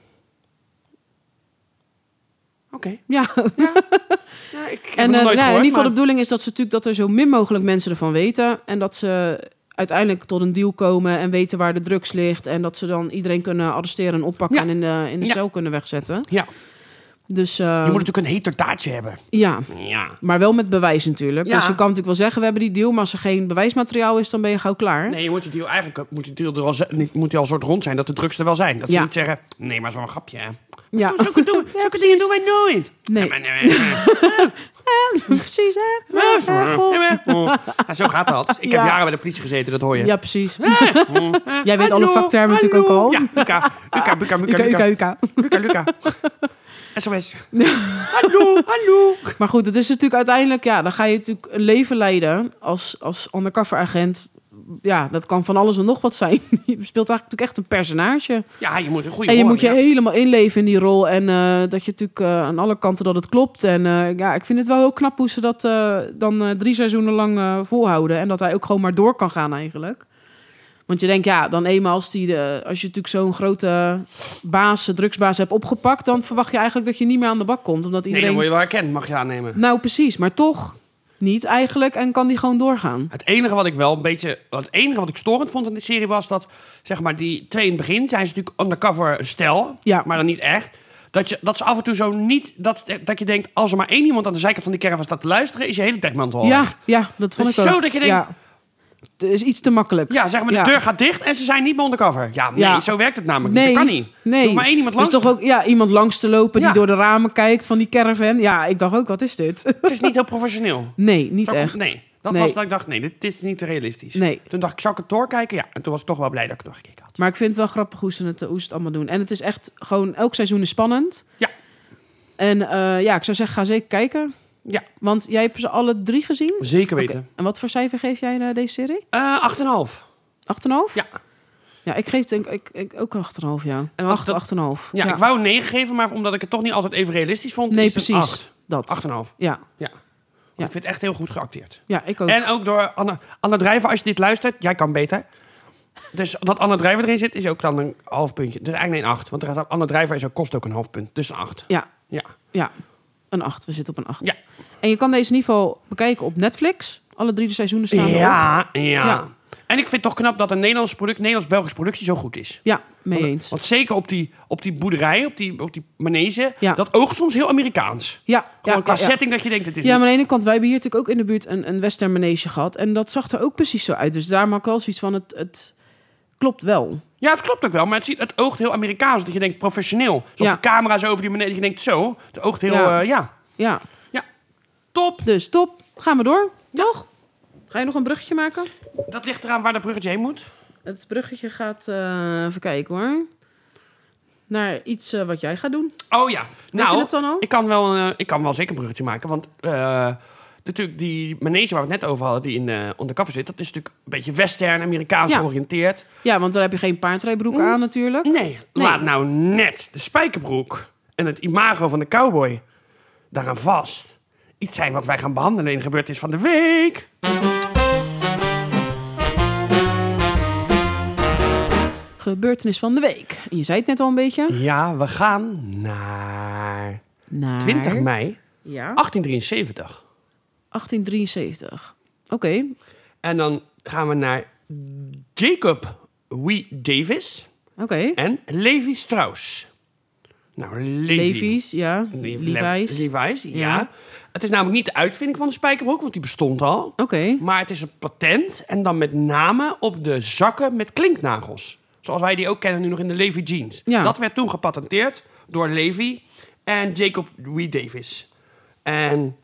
Speaker 3: Oké.
Speaker 2: Ja,
Speaker 3: Ja, ik heb
Speaker 2: en
Speaker 3: het nog
Speaker 2: eh,
Speaker 3: nooit
Speaker 2: nou, in
Speaker 3: gehoord,
Speaker 2: ieder geval de
Speaker 3: maar-
Speaker 2: bedoeling is dat, ze natuurlijk, dat er zo min mogelijk mensen ervan weten. En dat ze uiteindelijk tot een deal komen en weten waar de drugs ligt. En dat ze dan iedereen kunnen arresteren en oppakken
Speaker 3: Ja.
Speaker 2: en in de, in de
Speaker 3: Ja.
Speaker 2: cel kunnen wegzetten.
Speaker 3: Ja.
Speaker 2: Dus eh,
Speaker 3: Je moet natuurlijk een heterdaadje hebben.
Speaker 2: ja,
Speaker 3: Ja.
Speaker 2: maar wel met bewijs natuurlijk.
Speaker 3: Ja.
Speaker 2: Dus je kan natuurlijk wel zeggen, we hebben die deal. Maar als er geen bewijsmateriaal is, dan ben je gauw klaar.
Speaker 3: Nee, je moet die deal eigenlijk eh, moet die deal er wel, z- niet- moet die al soort rond zijn dat de drugs er wel zijn. Dat ze
Speaker 2: Ja.
Speaker 3: niet zeggen, nee, maar zo'n grapje. hè.
Speaker 2: ja.
Speaker 3: Oh, Zulke, doen, zulke dingen doen wij nooit.
Speaker 2: Nee.
Speaker 3: Ja, maar, nee, nee, nee.
Speaker 2: precies hè?
Speaker 3: Ja, maar- Oh. Ja, Zo gaat dat. Ik heb
Speaker 2: Ja.
Speaker 3: jaren bij de politie gezeten, dat hoor je.
Speaker 2: Ja, precies. Jij weet alle
Speaker 3: Hallo,
Speaker 2: vaktermen natuurlijk ook
Speaker 3: hallo.
Speaker 2: al.
Speaker 3: Ja, Luca. Luca, Luca,
Speaker 2: UK,
Speaker 3: Luca,
Speaker 2: UK,
Speaker 3: Luca.
Speaker 2: UK.
Speaker 3: Luca, Luca. SOS. Hallo, hallo.
Speaker 2: Maar goed, het is natuurlijk uiteindelijk, ja, dan ga je natuurlijk een leven leiden als, als undercover agent. Ja, dat kan van alles en nog wat zijn. Je speelt eigenlijk natuurlijk echt een personage.
Speaker 3: Ja, je moet een goede
Speaker 2: En je
Speaker 3: horen,
Speaker 2: moet je
Speaker 3: ja.
Speaker 2: helemaal inleven in die rol. En eh, dat je natuurlijk eh, aan alle kanten dat het klopt. En eh, ja, ik vind het wel heel knap hoe ze dat eh, dan eh, drie seizoenen lang eh, volhouden. En dat hij ook gewoon maar door kan gaan eigenlijk. Want je denkt, ja, dan eenmaal als, die, de- als je natuurlijk zo'n grote baas, drugsbaas hebt opgepakt... dan verwacht je eigenlijk dat je niet meer aan de bak komt. Omdat
Speaker 3: Nee, dan
Speaker 2: iedereen
Speaker 3: word je wel herkend, mag je aannemen.
Speaker 2: nou, precies. Maar toch niet eigenlijk. En kan die gewoon doorgaan.
Speaker 3: Het enige wat ik wel een beetje. Het enige wat ik storend vond in de serie was dat. Zeg maar, die twee in het begin zijn ze natuurlijk undercover stel.
Speaker 2: Ja.
Speaker 3: Maar dan niet echt. Dat, je, dat ze af en toe zo niet. Dat, dat je denkt, als er maar één iemand aan de zijkant van die caravan staat te luisteren, is je hele dekmantel al
Speaker 2: Ja,
Speaker 3: weg.
Speaker 2: ja, dat vond
Speaker 3: Oh, Het
Speaker 2: ik
Speaker 3: is
Speaker 2: ook.
Speaker 3: zo dat je denkt-
Speaker 2: Ja. Het is iets te makkelijk.
Speaker 3: Ja, zeg maar, de
Speaker 2: Ja.
Speaker 3: deur gaat dicht en ze zijn niet meer undercover. Ja, nee,
Speaker 2: Ja.
Speaker 3: zo werkt het namelijk niet. Dat kan niet. Er
Speaker 2: Nee.
Speaker 3: hoeft maar één iemand
Speaker 2: Dus
Speaker 3: langs.
Speaker 2: toch ook ja, iemand langs te lopen
Speaker 3: Ja.
Speaker 2: die door de ramen kijkt van die caravan. Ja, ik dacht ook, wat is dit?
Speaker 3: Het is niet heel professioneel.
Speaker 2: Nee, niet
Speaker 3: Zou ik-
Speaker 2: echt.
Speaker 3: Nee, dat
Speaker 2: Nee.
Speaker 3: was dat ik dacht, nee, dit, dit is niet realistisch.
Speaker 2: Nee.
Speaker 3: Toen dacht ik, zou ik het doorkijken? Ja, en toen was ik toch wel blij dat ik het doorgekeken had.
Speaker 2: Maar ik vind het wel grappig hoe ze het, hoe ze het allemaal doen. En het is echt gewoon, elk seizoen is spannend.
Speaker 3: Ja.
Speaker 2: En eh, ja, ik zou zeggen, ga zeker kijken.
Speaker 3: Ja,
Speaker 2: Want jij hebt ze alle drie gezien.
Speaker 3: zeker
Speaker 2: Oké.
Speaker 3: weten.
Speaker 2: En wat voor cijfer geef jij eh, deze serie?
Speaker 3: Eh 8,5.
Speaker 2: 8,5?
Speaker 3: Ja.
Speaker 2: Ja, ik geef denk ik, ik ook een 8,5, ja.
Speaker 3: En want
Speaker 2: 8,
Speaker 3: dat-
Speaker 2: 8,5.
Speaker 3: Ja, ik wou een 9 geven, maar omdat ik het toch niet altijd even realistisch vond.
Speaker 2: Nee,
Speaker 3: is het een
Speaker 2: precies.
Speaker 3: acht.
Speaker 2: Dat.
Speaker 3: 8,5.
Speaker 2: Ja.
Speaker 3: Ja.
Speaker 2: Ja.
Speaker 3: Ik vind het echt heel goed geacteerd.
Speaker 2: ja, ik ook.
Speaker 3: En ook door Anna, Anna Drijver, als je dit luistert, jij kan beter. Dus dat Anna Drijver erin zit, is ook dan een half puntje. Dus eigenlijk een 8. Want er gaat- Anna Drijver is ook, kost ook een half punt. Dus een 8.
Speaker 2: Ja,
Speaker 3: Ja.
Speaker 2: ja, een 8. We zitten op een 8.
Speaker 3: Ja.
Speaker 2: En je kan deze in ieder geval bekijken op Netflix. Alle drie de seizoenen staan erop.
Speaker 3: ja, ja,
Speaker 2: Ja.
Speaker 3: En ik vind toch knap dat een Nederlands product, Nederlands-Belgische productie zo goed is.
Speaker 2: Ja, mee
Speaker 3: Want-
Speaker 2: eens.
Speaker 3: Want zeker op die, op die boerderij, op die, op die manege,
Speaker 2: Ja.
Speaker 3: dat oogt soms heel Amerikaans.
Speaker 2: Ja,
Speaker 3: Gewoon
Speaker 2: ja,
Speaker 3: qua
Speaker 2: ja, ja.
Speaker 3: setting dat je denkt, het is
Speaker 2: Ja, maar aan de ene kant, wij hebben hier natuurlijk ook in de buurt een, een Western manege gehad. En dat zag er ook precies zo uit. Dus daar maak ik wel zoiets van, het, het klopt wel.
Speaker 3: Ja, het klopt ook wel, maar het, ziet, het oogt heel Amerikaans. Dat je denkt professioneel. Zoals
Speaker 2: Ja.
Speaker 3: de camera's over die meneer, dat je denkt zo. Het oogt heel, ja,
Speaker 2: Ja.
Speaker 3: ja.
Speaker 2: Ja,
Speaker 3: top.
Speaker 2: dus top. Gaan we door. Nog? Ga je nog een bruggetje maken?
Speaker 3: Dat ligt eraan waar dat bruggetje heen moet.
Speaker 2: Het bruggetje gaat, eh, even kijken hoor. Naar iets eh, wat jij gaat doen.
Speaker 3: Oh ja,
Speaker 2: Weet je
Speaker 3: nou,
Speaker 2: het dan al?
Speaker 3: ik kan, wel, eh, ik kan wel zeker een bruggetje maken. Want eh, natuurlijk die manege waar we het net over hadden, die in eh Undercover zit... dat is natuurlijk een beetje western, Amerikaans
Speaker 2: Ja.
Speaker 3: georiënteerd.
Speaker 2: Ja, want daar heb je geen paardrijbroek aan natuurlijk.
Speaker 3: Nee, laat nou net de spijkerbroek en het imago van de cowboy daaraan vast. Iets zijn wat wij gaan behandelen in Gebeurtenis van de Week.
Speaker 2: Gebeurtenis van de week. En je zei het net al een beetje.
Speaker 3: Ja, we gaan naar...
Speaker 2: Naar...
Speaker 3: 20 mei
Speaker 2: Ja.
Speaker 3: 1873.
Speaker 2: 1873. Oké.
Speaker 3: En dan gaan we naar Jacob W. Davis
Speaker 2: Oké.
Speaker 3: en Levi Strauss. Nou, Levi.
Speaker 2: Levi's, ja.
Speaker 3: Le-
Speaker 2: Levi's.
Speaker 3: Le- Levi's, ja.
Speaker 2: Ja.
Speaker 3: Het is namelijk niet de uitvinding van de spijkerbroek, want die bestond al.
Speaker 2: Oké.
Speaker 3: Maar het is een patent en dan met name op de zakken met klinknagels. Zoals wij die ook kennen nu nog in de Levi jeans.
Speaker 2: Ja.
Speaker 3: Dat werd toen gepatenteerd door Levi en Jacob W. Davis. En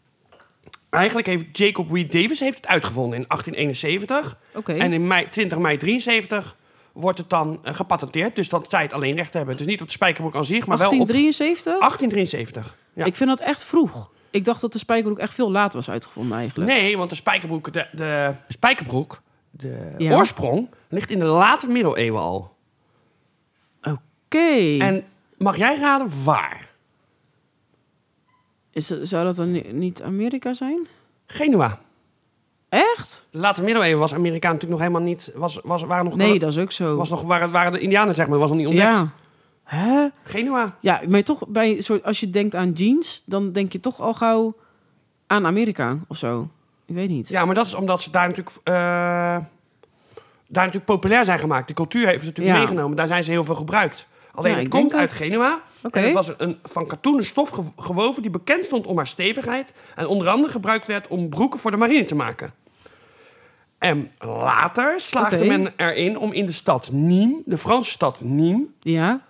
Speaker 3: Eigenlijk heeft Jacob Reed Davis heeft het uitgevonden in 1871.
Speaker 2: Oké.
Speaker 3: En in mei, 20 mei 73 wordt het dan eh, gepatenteerd. Dus dat zij het alleen recht hebben. Dus niet op de spijkerbroek aan zich, maar wel op
Speaker 2: 1873?
Speaker 3: 1873. Ja.
Speaker 2: Ik vind dat echt vroeg. Ik dacht dat de spijkerbroek echt veel later was uitgevonden eigenlijk.
Speaker 3: Nee, want de spijkerbroek, de, de spijkerbroek, de
Speaker 2: Ja.
Speaker 3: oorsprong, ligt in de late middeleeuwen al.
Speaker 2: Oké.
Speaker 3: En mag jij raden waar?
Speaker 2: Is dat- Zou dat dan ni- niet Amerika zijn?
Speaker 3: Genua.
Speaker 2: Echt?
Speaker 3: De late middeleeuwen was Amerika natuurlijk nog helemaal niet... Was, was, waren nog
Speaker 2: Nee, dat is ook zo.
Speaker 3: was nog, waren, waren de indianen, zeg maar, was nog niet ontdekt.
Speaker 2: ja. Hè?
Speaker 3: Genua.
Speaker 2: Ja, maar toch, bij, een soort, als je denkt aan jeans, dan denk je toch al gauw aan Amerika of zo. Ik weet niet.
Speaker 3: Ja, maar dat is omdat ze daar natuurlijk, eh, daar natuurlijk populair zijn gemaakt. De cultuur heeft ze natuurlijk
Speaker 2: Ja.
Speaker 3: meegenomen. Daar zijn ze heel veel gebruikt. Alleen
Speaker 2: Ja,
Speaker 3: het
Speaker 2: ik
Speaker 3: komt
Speaker 2: denk
Speaker 3: uit
Speaker 2: het.
Speaker 3: Genua.
Speaker 2: Oké.
Speaker 3: En het was een van katoenen stof ge- gewoven die bekend stond om haar stevigheid. En onder andere gebruikt werd om broeken voor de marine te maken. En later slaagde
Speaker 2: Oké.
Speaker 3: men erin om in de stad Nîmes, de Franse stad Nîmes,
Speaker 2: Ja?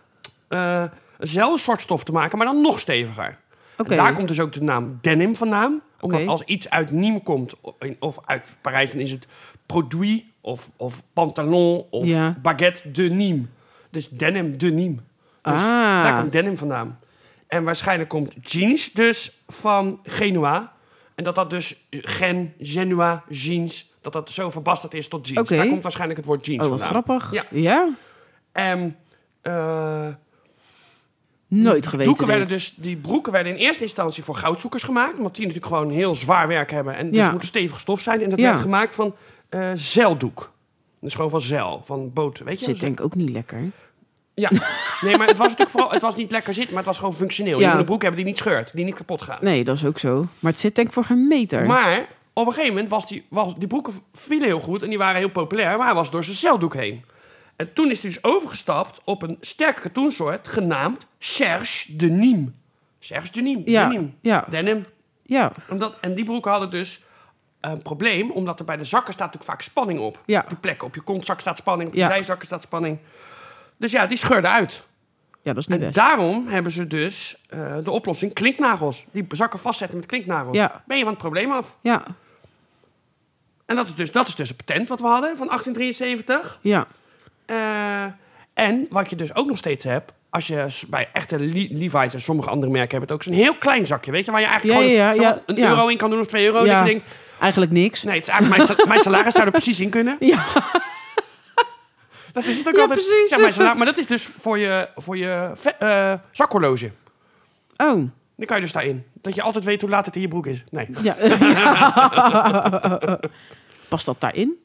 Speaker 3: eh, eenzelfde soort stof te maken, maar dan nog steviger.
Speaker 2: Oké.
Speaker 3: En daar komt dus ook de naam denim vandaan. Omdat
Speaker 2: Oké.
Speaker 3: als iets uit Nîmes komt, o- in- of uit Parijs, dan is het produit of, of pantalon of
Speaker 2: Ja.
Speaker 3: baguette de Nîmes. Dus denim de Nîmes. Dus
Speaker 2: Ah.
Speaker 3: daar komt denim vandaan. En waarschijnlijk komt jeans dus van Genua. En dat dat dus gen, Genua, jeans, dat dat zo verbasterd is tot jeans.
Speaker 2: Oké.
Speaker 3: Daar komt waarschijnlijk het woord jeans
Speaker 2: Oh, wat
Speaker 3: dus vandaan.
Speaker 2: grappig.
Speaker 3: Ja.
Speaker 2: ja?
Speaker 3: En... eh,
Speaker 2: Nooit geweten.
Speaker 3: Doeken werden
Speaker 2: dit.
Speaker 3: dus, die broeken werden in eerste instantie voor goudzoekers gemaakt. Omdat die natuurlijk gewoon heel zwaar werk hebben. En dus
Speaker 2: Ja.
Speaker 3: moet stevige stof zijn. En dat
Speaker 2: Ja.
Speaker 3: werd gemaakt van eh, zeildoek. Dus gewoon van zeil, van boot. Weet je?
Speaker 2: Zit
Speaker 3: wel?
Speaker 2: denk ik ook niet lekker.
Speaker 3: Ja. Nee, maar het was natuurlijk vooral, het was niet lekker zitten, maar het was gewoon functioneel.
Speaker 2: Ja.
Speaker 3: Je moet een broek hebben die niet scheurt, die niet kapot gaat.
Speaker 2: Nee, dat is ook zo. Maar het zit denk ik voor geen meter.
Speaker 3: Maar op een gegeven moment was die, was, die broeken vielen heel goed en die waren heel populair. Maar hij was door zijn zeildoek heen. En toen is hij dus overgestapt op een sterke katoensoort genaamd Serge de Nîmes. Serge de Nîmes.
Speaker 2: ja,
Speaker 3: de Nîmes.
Speaker 2: ja,
Speaker 3: Denim.
Speaker 2: ja,
Speaker 3: Omdat, en die broeken hadden dus een probleem, omdat er bij de zakken staat natuurlijk vaak spanning op.
Speaker 2: Ja.
Speaker 3: Op die plekken, op je kontzak staat spanning, op je
Speaker 2: Ja.
Speaker 3: zijzakken staat spanning. Dus ja, die scheurde uit.
Speaker 2: ja, dat is niet
Speaker 3: En
Speaker 2: best.
Speaker 3: daarom hebben ze dus eh, de oplossing klinknagels. Die zakken vastzetten met klinknagels.
Speaker 2: Ja.
Speaker 3: Ben je van het probleem af.
Speaker 2: Ja,
Speaker 3: En dat is dus, dat is dus een patent wat we hadden van 1873.
Speaker 2: ja,
Speaker 3: Eh, en wat je dus ook nog steeds hebt, als je s- bij echte Le- Levi's en sommige andere merken hebben het ook, zo'n heel klein zakje, weet je, waar je eigenlijk
Speaker 2: Ja,
Speaker 3: gewoon
Speaker 2: ja, ja,
Speaker 3: zowat
Speaker 2: ja.
Speaker 3: een euro in kan doen of twee euro.
Speaker 2: Ja.
Speaker 3: Dat je denkt,
Speaker 2: eigenlijk niks.
Speaker 3: Nee, het is eigenlijk mijn, sa- mijn salaris zou er precies in kunnen.
Speaker 2: Ja,
Speaker 3: Dat is het ook
Speaker 2: Ja,
Speaker 3: altijd.
Speaker 2: precies.
Speaker 3: Ja, mijn salaris, maar dat is dus voor je, voor je ve- eh, zakhorloge.
Speaker 2: oh,
Speaker 3: Dan kan je dus daarin. Dat je altijd weet hoe laat het in je broek is. Nee.
Speaker 2: ja. Past dat daarin?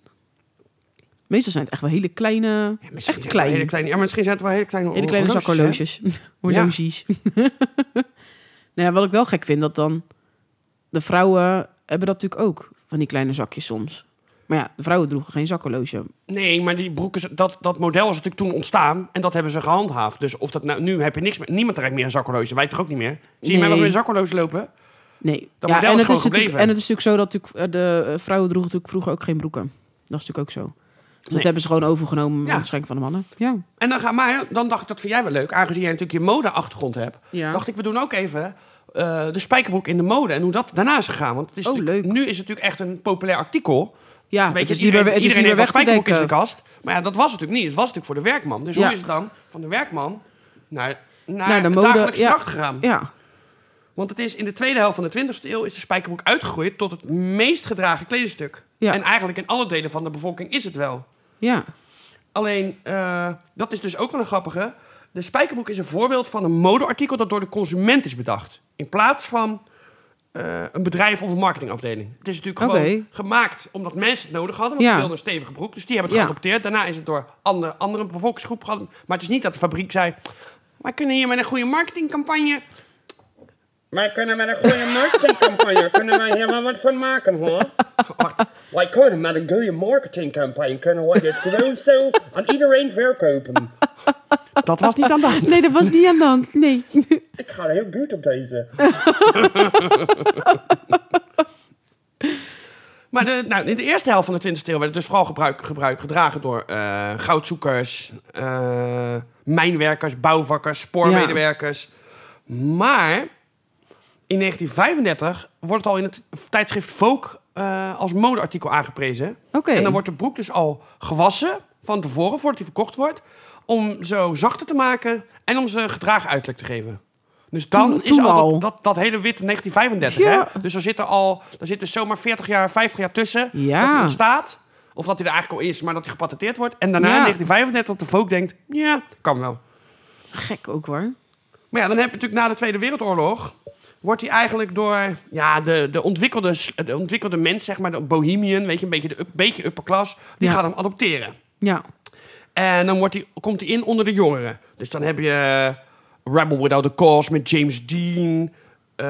Speaker 2: Meestal zijn het echt wel hele kleine,
Speaker 3: Ja,
Speaker 2: echt
Speaker 3: zijn het wel
Speaker 2: klein,
Speaker 3: Hele kleine, ja, misschien zijn het wel hele kleine
Speaker 2: hele kleine
Speaker 3: horloges, hè?
Speaker 2: zakhorloges. Horloges. nou ja, wat ik wel gek vind, dat dan de vrouwen hebben dat natuurlijk ook, van die kleine zakjes soms. Maar ja, de vrouwen droegen geen zakhorloge.
Speaker 3: Nee, maar die broeken, z- dat, dat model is natuurlijk toen ontstaan. En dat hebben ze gehandhaafd. Dus of dat nou, nu heb je niks meer. Niemand draagt meer een zakhorloge. Wij toch ook niet meer. Zie je mij wel eens
Speaker 2: Nee.
Speaker 3: met een zakhorloge lopen?
Speaker 2: Nee.
Speaker 3: Dat model
Speaker 2: en het
Speaker 3: is gewoon
Speaker 2: is natuurlijk,
Speaker 3: gebleven.
Speaker 2: en het is natuurlijk zo dat natuurlijk, eh, de eh, vrouwen droegen natuurlijk vroeger ook geen broeken. Dat is natuurlijk ook zo. Dus
Speaker 3: Nee.
Speaker 2: dat hebben ze gewoon overgenomen
Speaker 3: Ja.
Speaker 2: waarschijnlijk van de mannen. Ja.
Speaker 3: En dan, ga, maar, dan dacht ik, dat vind jij wel leuk. Aangezien jij natuurlijk je mode-achtergrond hebt. dacht ik, we doen ook even eh, de spijkerbroek in de mode en hoe dat daarna is gegaan. Want het is
Speaker 2: Oh,
Speaker 3: natuurlijk-
Speaker 2: leuk.
Speaker 3: nu is het natuurlijk echt een populair artikel.
Speaker 2: ja,
Speaker 3: Weet
Speaker 2: het
Speaker 3: je,
Speaker 2: is niet meer,
Speaker 3: iedereen,
Speaker 2: het is
Speaker 3: iedereen
Speaker 2: niet meer
Speaker 3: heeft
Speaker 2: weg
Speaker 3: wel
Speaker 2: te
Speaker 3: spijkerbroek in zijn
Speaker 2: denken.
Speaker 3: kast. Maar ja, dat was natuurlijk niet. Het was natuurlijk voor de werkman. Dus
Speaker 2: Ja.
Speaker 3: hoe is het dan van de werkman naar, naar,
Speaker 2: Naar de
Speaker 3: de
Speaker 2: mode,
Speaker 3: dagelijks
Speaker 2: ja.
Speaker 3: dracht gegaan?
Speaker 2: Ja,
Speaker 3: Want het is in de tweede helft van de 20e eeuw is de spijkerbroek uitgegroeid tot het meest gedragen kledingstuk.
Speaker 2: Ja.
Speaker 3: En eigenlijk in alle delen van de bevolking is het wel.
Speaker 2: ja.
Speaker 3: Alleen, eh, dat is dus ook wel een grappige. De spijkerbroek is een voorbeeld van een modeartikel dat door de consument is bedacht. In plaats van eh, een bedrijf of een marketingafdeling. Het is natuurlijk gewoon
Speaker 2: Oké.
Speaker 3: gemaakt omdat mensen het nodig hadden. Want
Speaker 2: Ja.
Speaker 3: die wilden een stevige broek. Dus die hebben het
Speaker 2: Ja.
Speaker 3: geadopteerd. Daarna is het door andere, andere bevolkingsgroep gehad. Maar het is niet dat de fabriek zei... Wij kunnen hier met een goede marketingcampagne...
Speaker 1: Wij kunnen met een goede marketingcampagne kunnen wij hier wel wat van maken, hoor. Wij kunnen met een goede marketingcampagne kunnen wij dit gewoon zo aan iedereen verkopen.
Speaker 3: Dat was niet aan de hand.
Speaker 2: Nee, dat was niet aan de hand. Nee.
Speaker 1: Ik ga er heel goed op deze.
Speaker 3: Maar de, nou, in de eerste helft van de 20e eeuw werd het dus vooral gebruik, gebruik gedragen door eh, goudzoekers, eh, mijnwerkers, bouwvakkers, spoormedewerkers. Maar In 1935 wordt het al in het tijdschrift Vogue eh, als modeartikel aangeprezen.
Speaker 2: Oké.
Speaker 3: En dan wordt de broek dus al gewassen van tevoren, voordat die verkocht wordt. Om zo zachter te maken en om ze gedragen uiterlijk te geven. Dus dan
Speaker 2: Toen-
Speaker 3: is
Speaker 2: toen
Speaker 3: al
Speaker 2: al.
Speaker 3: dat, dat, dat hele wit 1935.
Speaker 2: Ja.
Speaker 3: Hè? Dus daar zitten al daar zitten zomaar 40 jaar, 50 jaar tussen.
Speaker 2: Ja.
Speaker 3: Dat hij ontstaat. Of dat hij er eigenlijk al is, maar dat hij gepatenteerd wordt. En daarna
Speaker 2: Ja.
Speaker 3: in 1935 dat de Vogue denkt, ja, kan wel.
Speaker 2: Gek ook hoor.
Speaker 3: Maar ja, dan heb je natuurlijk na de Tweede Wereldoorlog. Wordt hij eigenlijk door ja, de, de, ontwikkelde, s- de ontwikkelde mens, zeg maar, de bohemian, weet je, een beetje, de, up- beetje upper class, die
Speaker 2: Ja.
Speaker 3: gaat hem adopteren.
Speaker 2: Ja.
Speaker 3: En dan wordt hij, komt hij in onder de jongeren. Dus dan heb je eh, Rebel Without a Cause met James Dean. eh,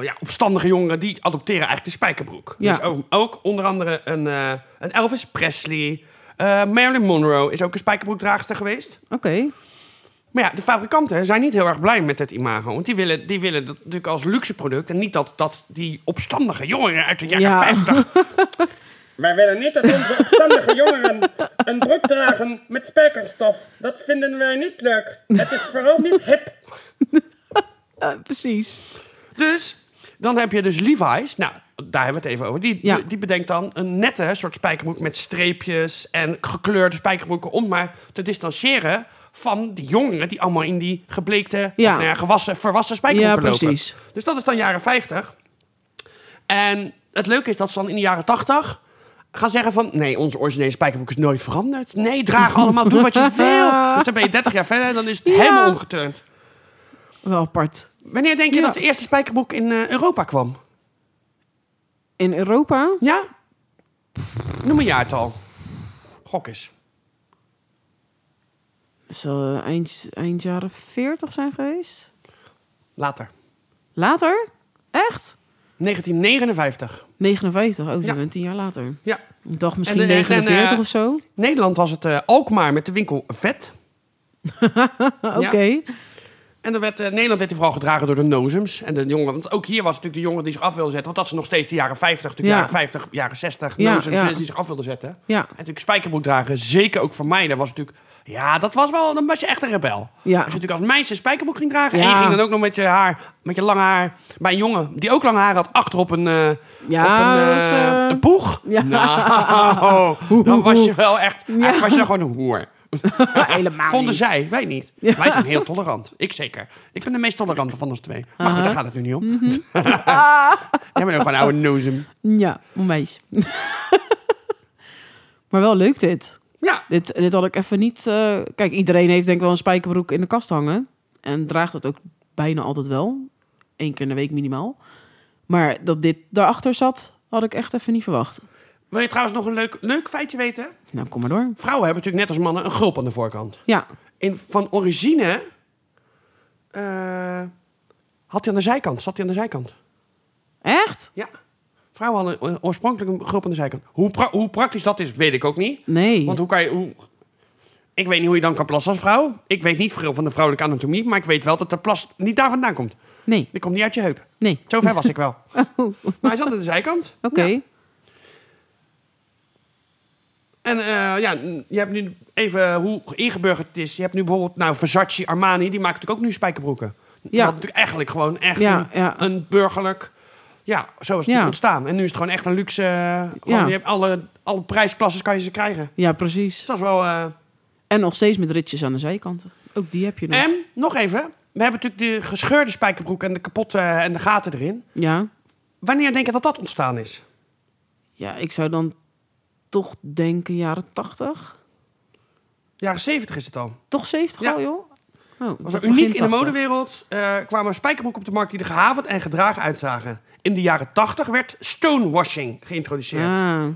Speaker 3: ja, opstandige jongeren die adopteren eigenlijk de spijkerbroek.
Speaker 2: Ja.
Speaker 3: Dus ook, ook onder andere een, eh, een Elvis Presley. Eh, Marilyn Monroe is ook een spijkerbroekdraagster geweest.
Speaker 2: Oké.
Speaker 3: Maar ja, de fabrikanten zijn niet heel erg blij met het imago. Want die willen, die willen dat natuurlijk als luxe product. En niet dat, dat die opstandige jongeren uit de jaren
Speaker 2: Ja.
Speaker 3: 50...
Speaker 1: Wij willen niet dat onze opstandige jongeren een broek dragen met spijkerstof. Dat vinden wij niet leuk. Het is vooral niet hip.
Speaker 2: Eh, precies.
Speaker 3: Dus dan heb je dus Levi's. Nou, daar hebben we het even over. Die,
Speaker 2: Ja.
Speaker 3: die- die bedenkt dan een nette soort spijkerbroek met streepjes... en gekleurde spijkerbroeken om maar te distancieren... van die jongeren die allemaal in die gebleekte,
Speaker 2: Ja.
Speaker 3: of nou ja, gewassen, verwassen
Speaker 2: Ja,
Speaker 3: spijkerbroeken lopen.
Speaker 2: precies.
Speaker 3: Dus dat is dan jaren 50. En het leuke is dat ze dan in de jaren 80 gaan zeggen van... nee, onze originele spijkerbroek is nooit veranderd. Nee, draag allemaal, doe wat je wil. Dus dan ben je 30 jaar verder en dan is het
Speaker 2: Ja.
Speaker 3: helemaal omgeturnd.
Speaker 2: Wel apart.
Speaker 3: Wanneer denk je
Speaker 2: Ja.
Speaker 3: dat de eerste spijkerbroek in eh, Europa kwam?
Speaker 2: In Europa?
Speaker 3: Ja? Noem een jaartal. Gok eens.
Speaker 2: Zal eh, eind, eind jaren 40 zijn geweest?
Speaker 3: Later.
Speaker 2: Later? Echt?
Speaker 3: 1959.
Speaker 2: 59, oh, ze
Speaker 3: Ja.
Speaker 2: zijn tien jaar later.
Speaker 3: Ja.
Speaker 2: Ik dacht misschien
Speaker 3: En de- en,
Speaker 2: 49
Speaker 3: eh,
Speaker 2: of zo.
Speaker 3: Nederland was het eh, Alkmaar met de winkel Vet.
Speaker 2: Ah, Oké.
Speaker 3: En dan werd, eh, Nederland werd die vooral gedragen door de nozems. En de jongen, want ook hier was natuurlijk de jongen die zich af wilde zetten. Want dat ze nog steeds de jaren 50, natuurlijk
Speaker 2: Ja.
Speaker 3: jaren 50, jaren 60,
Speaker 2: Ja,
Speaker 3: nozems
Speaker 2: ja.
Speaker 3: mensen die zich af wilden zetten. En
Speaker 2: Ja.
Speaker 3: natuurlijk spijkerbroek dragen, zeker ook voor mij. Dat was natuurlijk, ja, dat was wel, dan was je echt een rebel.
Speaker 2: Ja.
Speaker 3: Als je natuurlijk als meisje een spijkerbroek ging dragen en
Speaker 2: Ja.
Speaker 3: je ging dan ook nog met je haar, met je lange haar, bij een jongen die ook lang haar had, achter op een, eh,
Speaker 2: Ja,
Speaker 3: op een,
Speaker 2: dat was,
Speaker 3: eh,
Speaker 2: eh,
Speaker 3: een poeg.
Speaker 2: ja.
Speaker 3: Nou, dan was je wel echt, eigenlijk was je gewoon een hoer.
Speaker 2: Helemaal
Speaker 3: Vonden
Speaker 2: niet.
Speaker 3: zij, wij niet. Wij zijn heel tolerant. Ik zeker. Ik ben de meest tolerante van ons twee. Maar goed, daar gaat het nu niet om.
Speaker 2: Mhm.
Speaker 3: Jij bent ook gewoon een oude nozem.
Speaker 2: Ja, onwijs. maar wel leuk dit.
Speaker 3: Ja,
Speaker 2: Dit, dit had ik even niet... eh, Kijk, iedereen heeft denk ik wel een spijkerbroek in de kast hangen. En draagt dat ook bijna altijd wel. Eén keer in de week minimaal. Maar dat dit daarachter zat, had ik echt even niet verwacht.
Speaker 3: wil je trouwens nog een leuk, leuk feitje weten?
Speaker 2: Nou, kom maar door.
Speaker 3: Vrouwen hebben natuurlijk net als mannen een gulp aan de voorkant.
Speaker 2: Ja,
Speaker 3: In, van origine eh, had hij aan de zijkant, zat hij aan de zijkant.
Speaker 2: echt?
Speaker 3: Ja. Vrouwen hadden o- oorspronkelijk een gulp aan de zijkant. Hoe, pra- hoe praktisch dat is, weet ik ook niet.
Speaker 2: Nee.
Speaker 3: Want hoe kan je... Hoe... Ik weet niet hoe je dan kan plassen als vrouw. Ik weet niet veel van de vrouwelijke anatomie, maar ik weet wel dat de plas niet daar vandaan komt.
Speaker 2: Nee,
Speaker 3: Die komt niet uit je heup.
Speaker 2: nee.
Speaker 3: Zo ver was ik wel. Maar hij zat aan de zijkant.
Speaker 2: Oké.
Speaker 3: En eh, ja, n- je hebt nu even hoe ingeburgerd het is. Je hebt nu bijvoorbeeld nou, Versace, Armani, die maken natuurlijk ook nu spijkerbroeken. Ja. Dat natuurlijk eigenlijk gewoon echt
Speaker 2: Ja,
Speaker 3: een,
Speaker 2: ja.
Speaker 3: een burgerlijk... Ja, zo is het
Speaker 2: Ja.
Speaker 3: ontstaan. En nu is het gewoon echt een luxe... eh, gewoon,
Speaker 2: Ja.
Speaker 3: je hebt alle, alle prijsklasses kan je ze krijgen.
Speaker 2: Ja, precies.
Speaker 3: Dus dat is wel... eh,
Speaker 2: En nog steeds met ritjes aan de zijkanten. Ook die heb je nog.
Speaker 3: En, nog even. We hebben natuurlijk de gescheurde spijkerbroek en de kapotte eh, en de gaten erin.
Speaker 2: Ja.
Speaker 3: Wanneer denk je dat dat ontstaan is?
Speaker 2: ja, ik zou dan toch denken jaren 80.
Speaker 3: Jaren 70 is het al.
Speaker 2: Toch 70
Speaker 3: Ja.
Speaker 2: al, joh? Oh, ik
Speaker 3: was
Speaker 2: dacht
Speaker 3: er uniek
Speaker 2: begin
Speaker 3: in de
Speaker 2: 80.
Speaker 3: modewereld. eh, kwamen spijkerbroeken op de markt die er gehavend en gedragen uitzagen. In de jaren 80 werd stonewashing geïntroduceerd.
Speaker 2: Ah,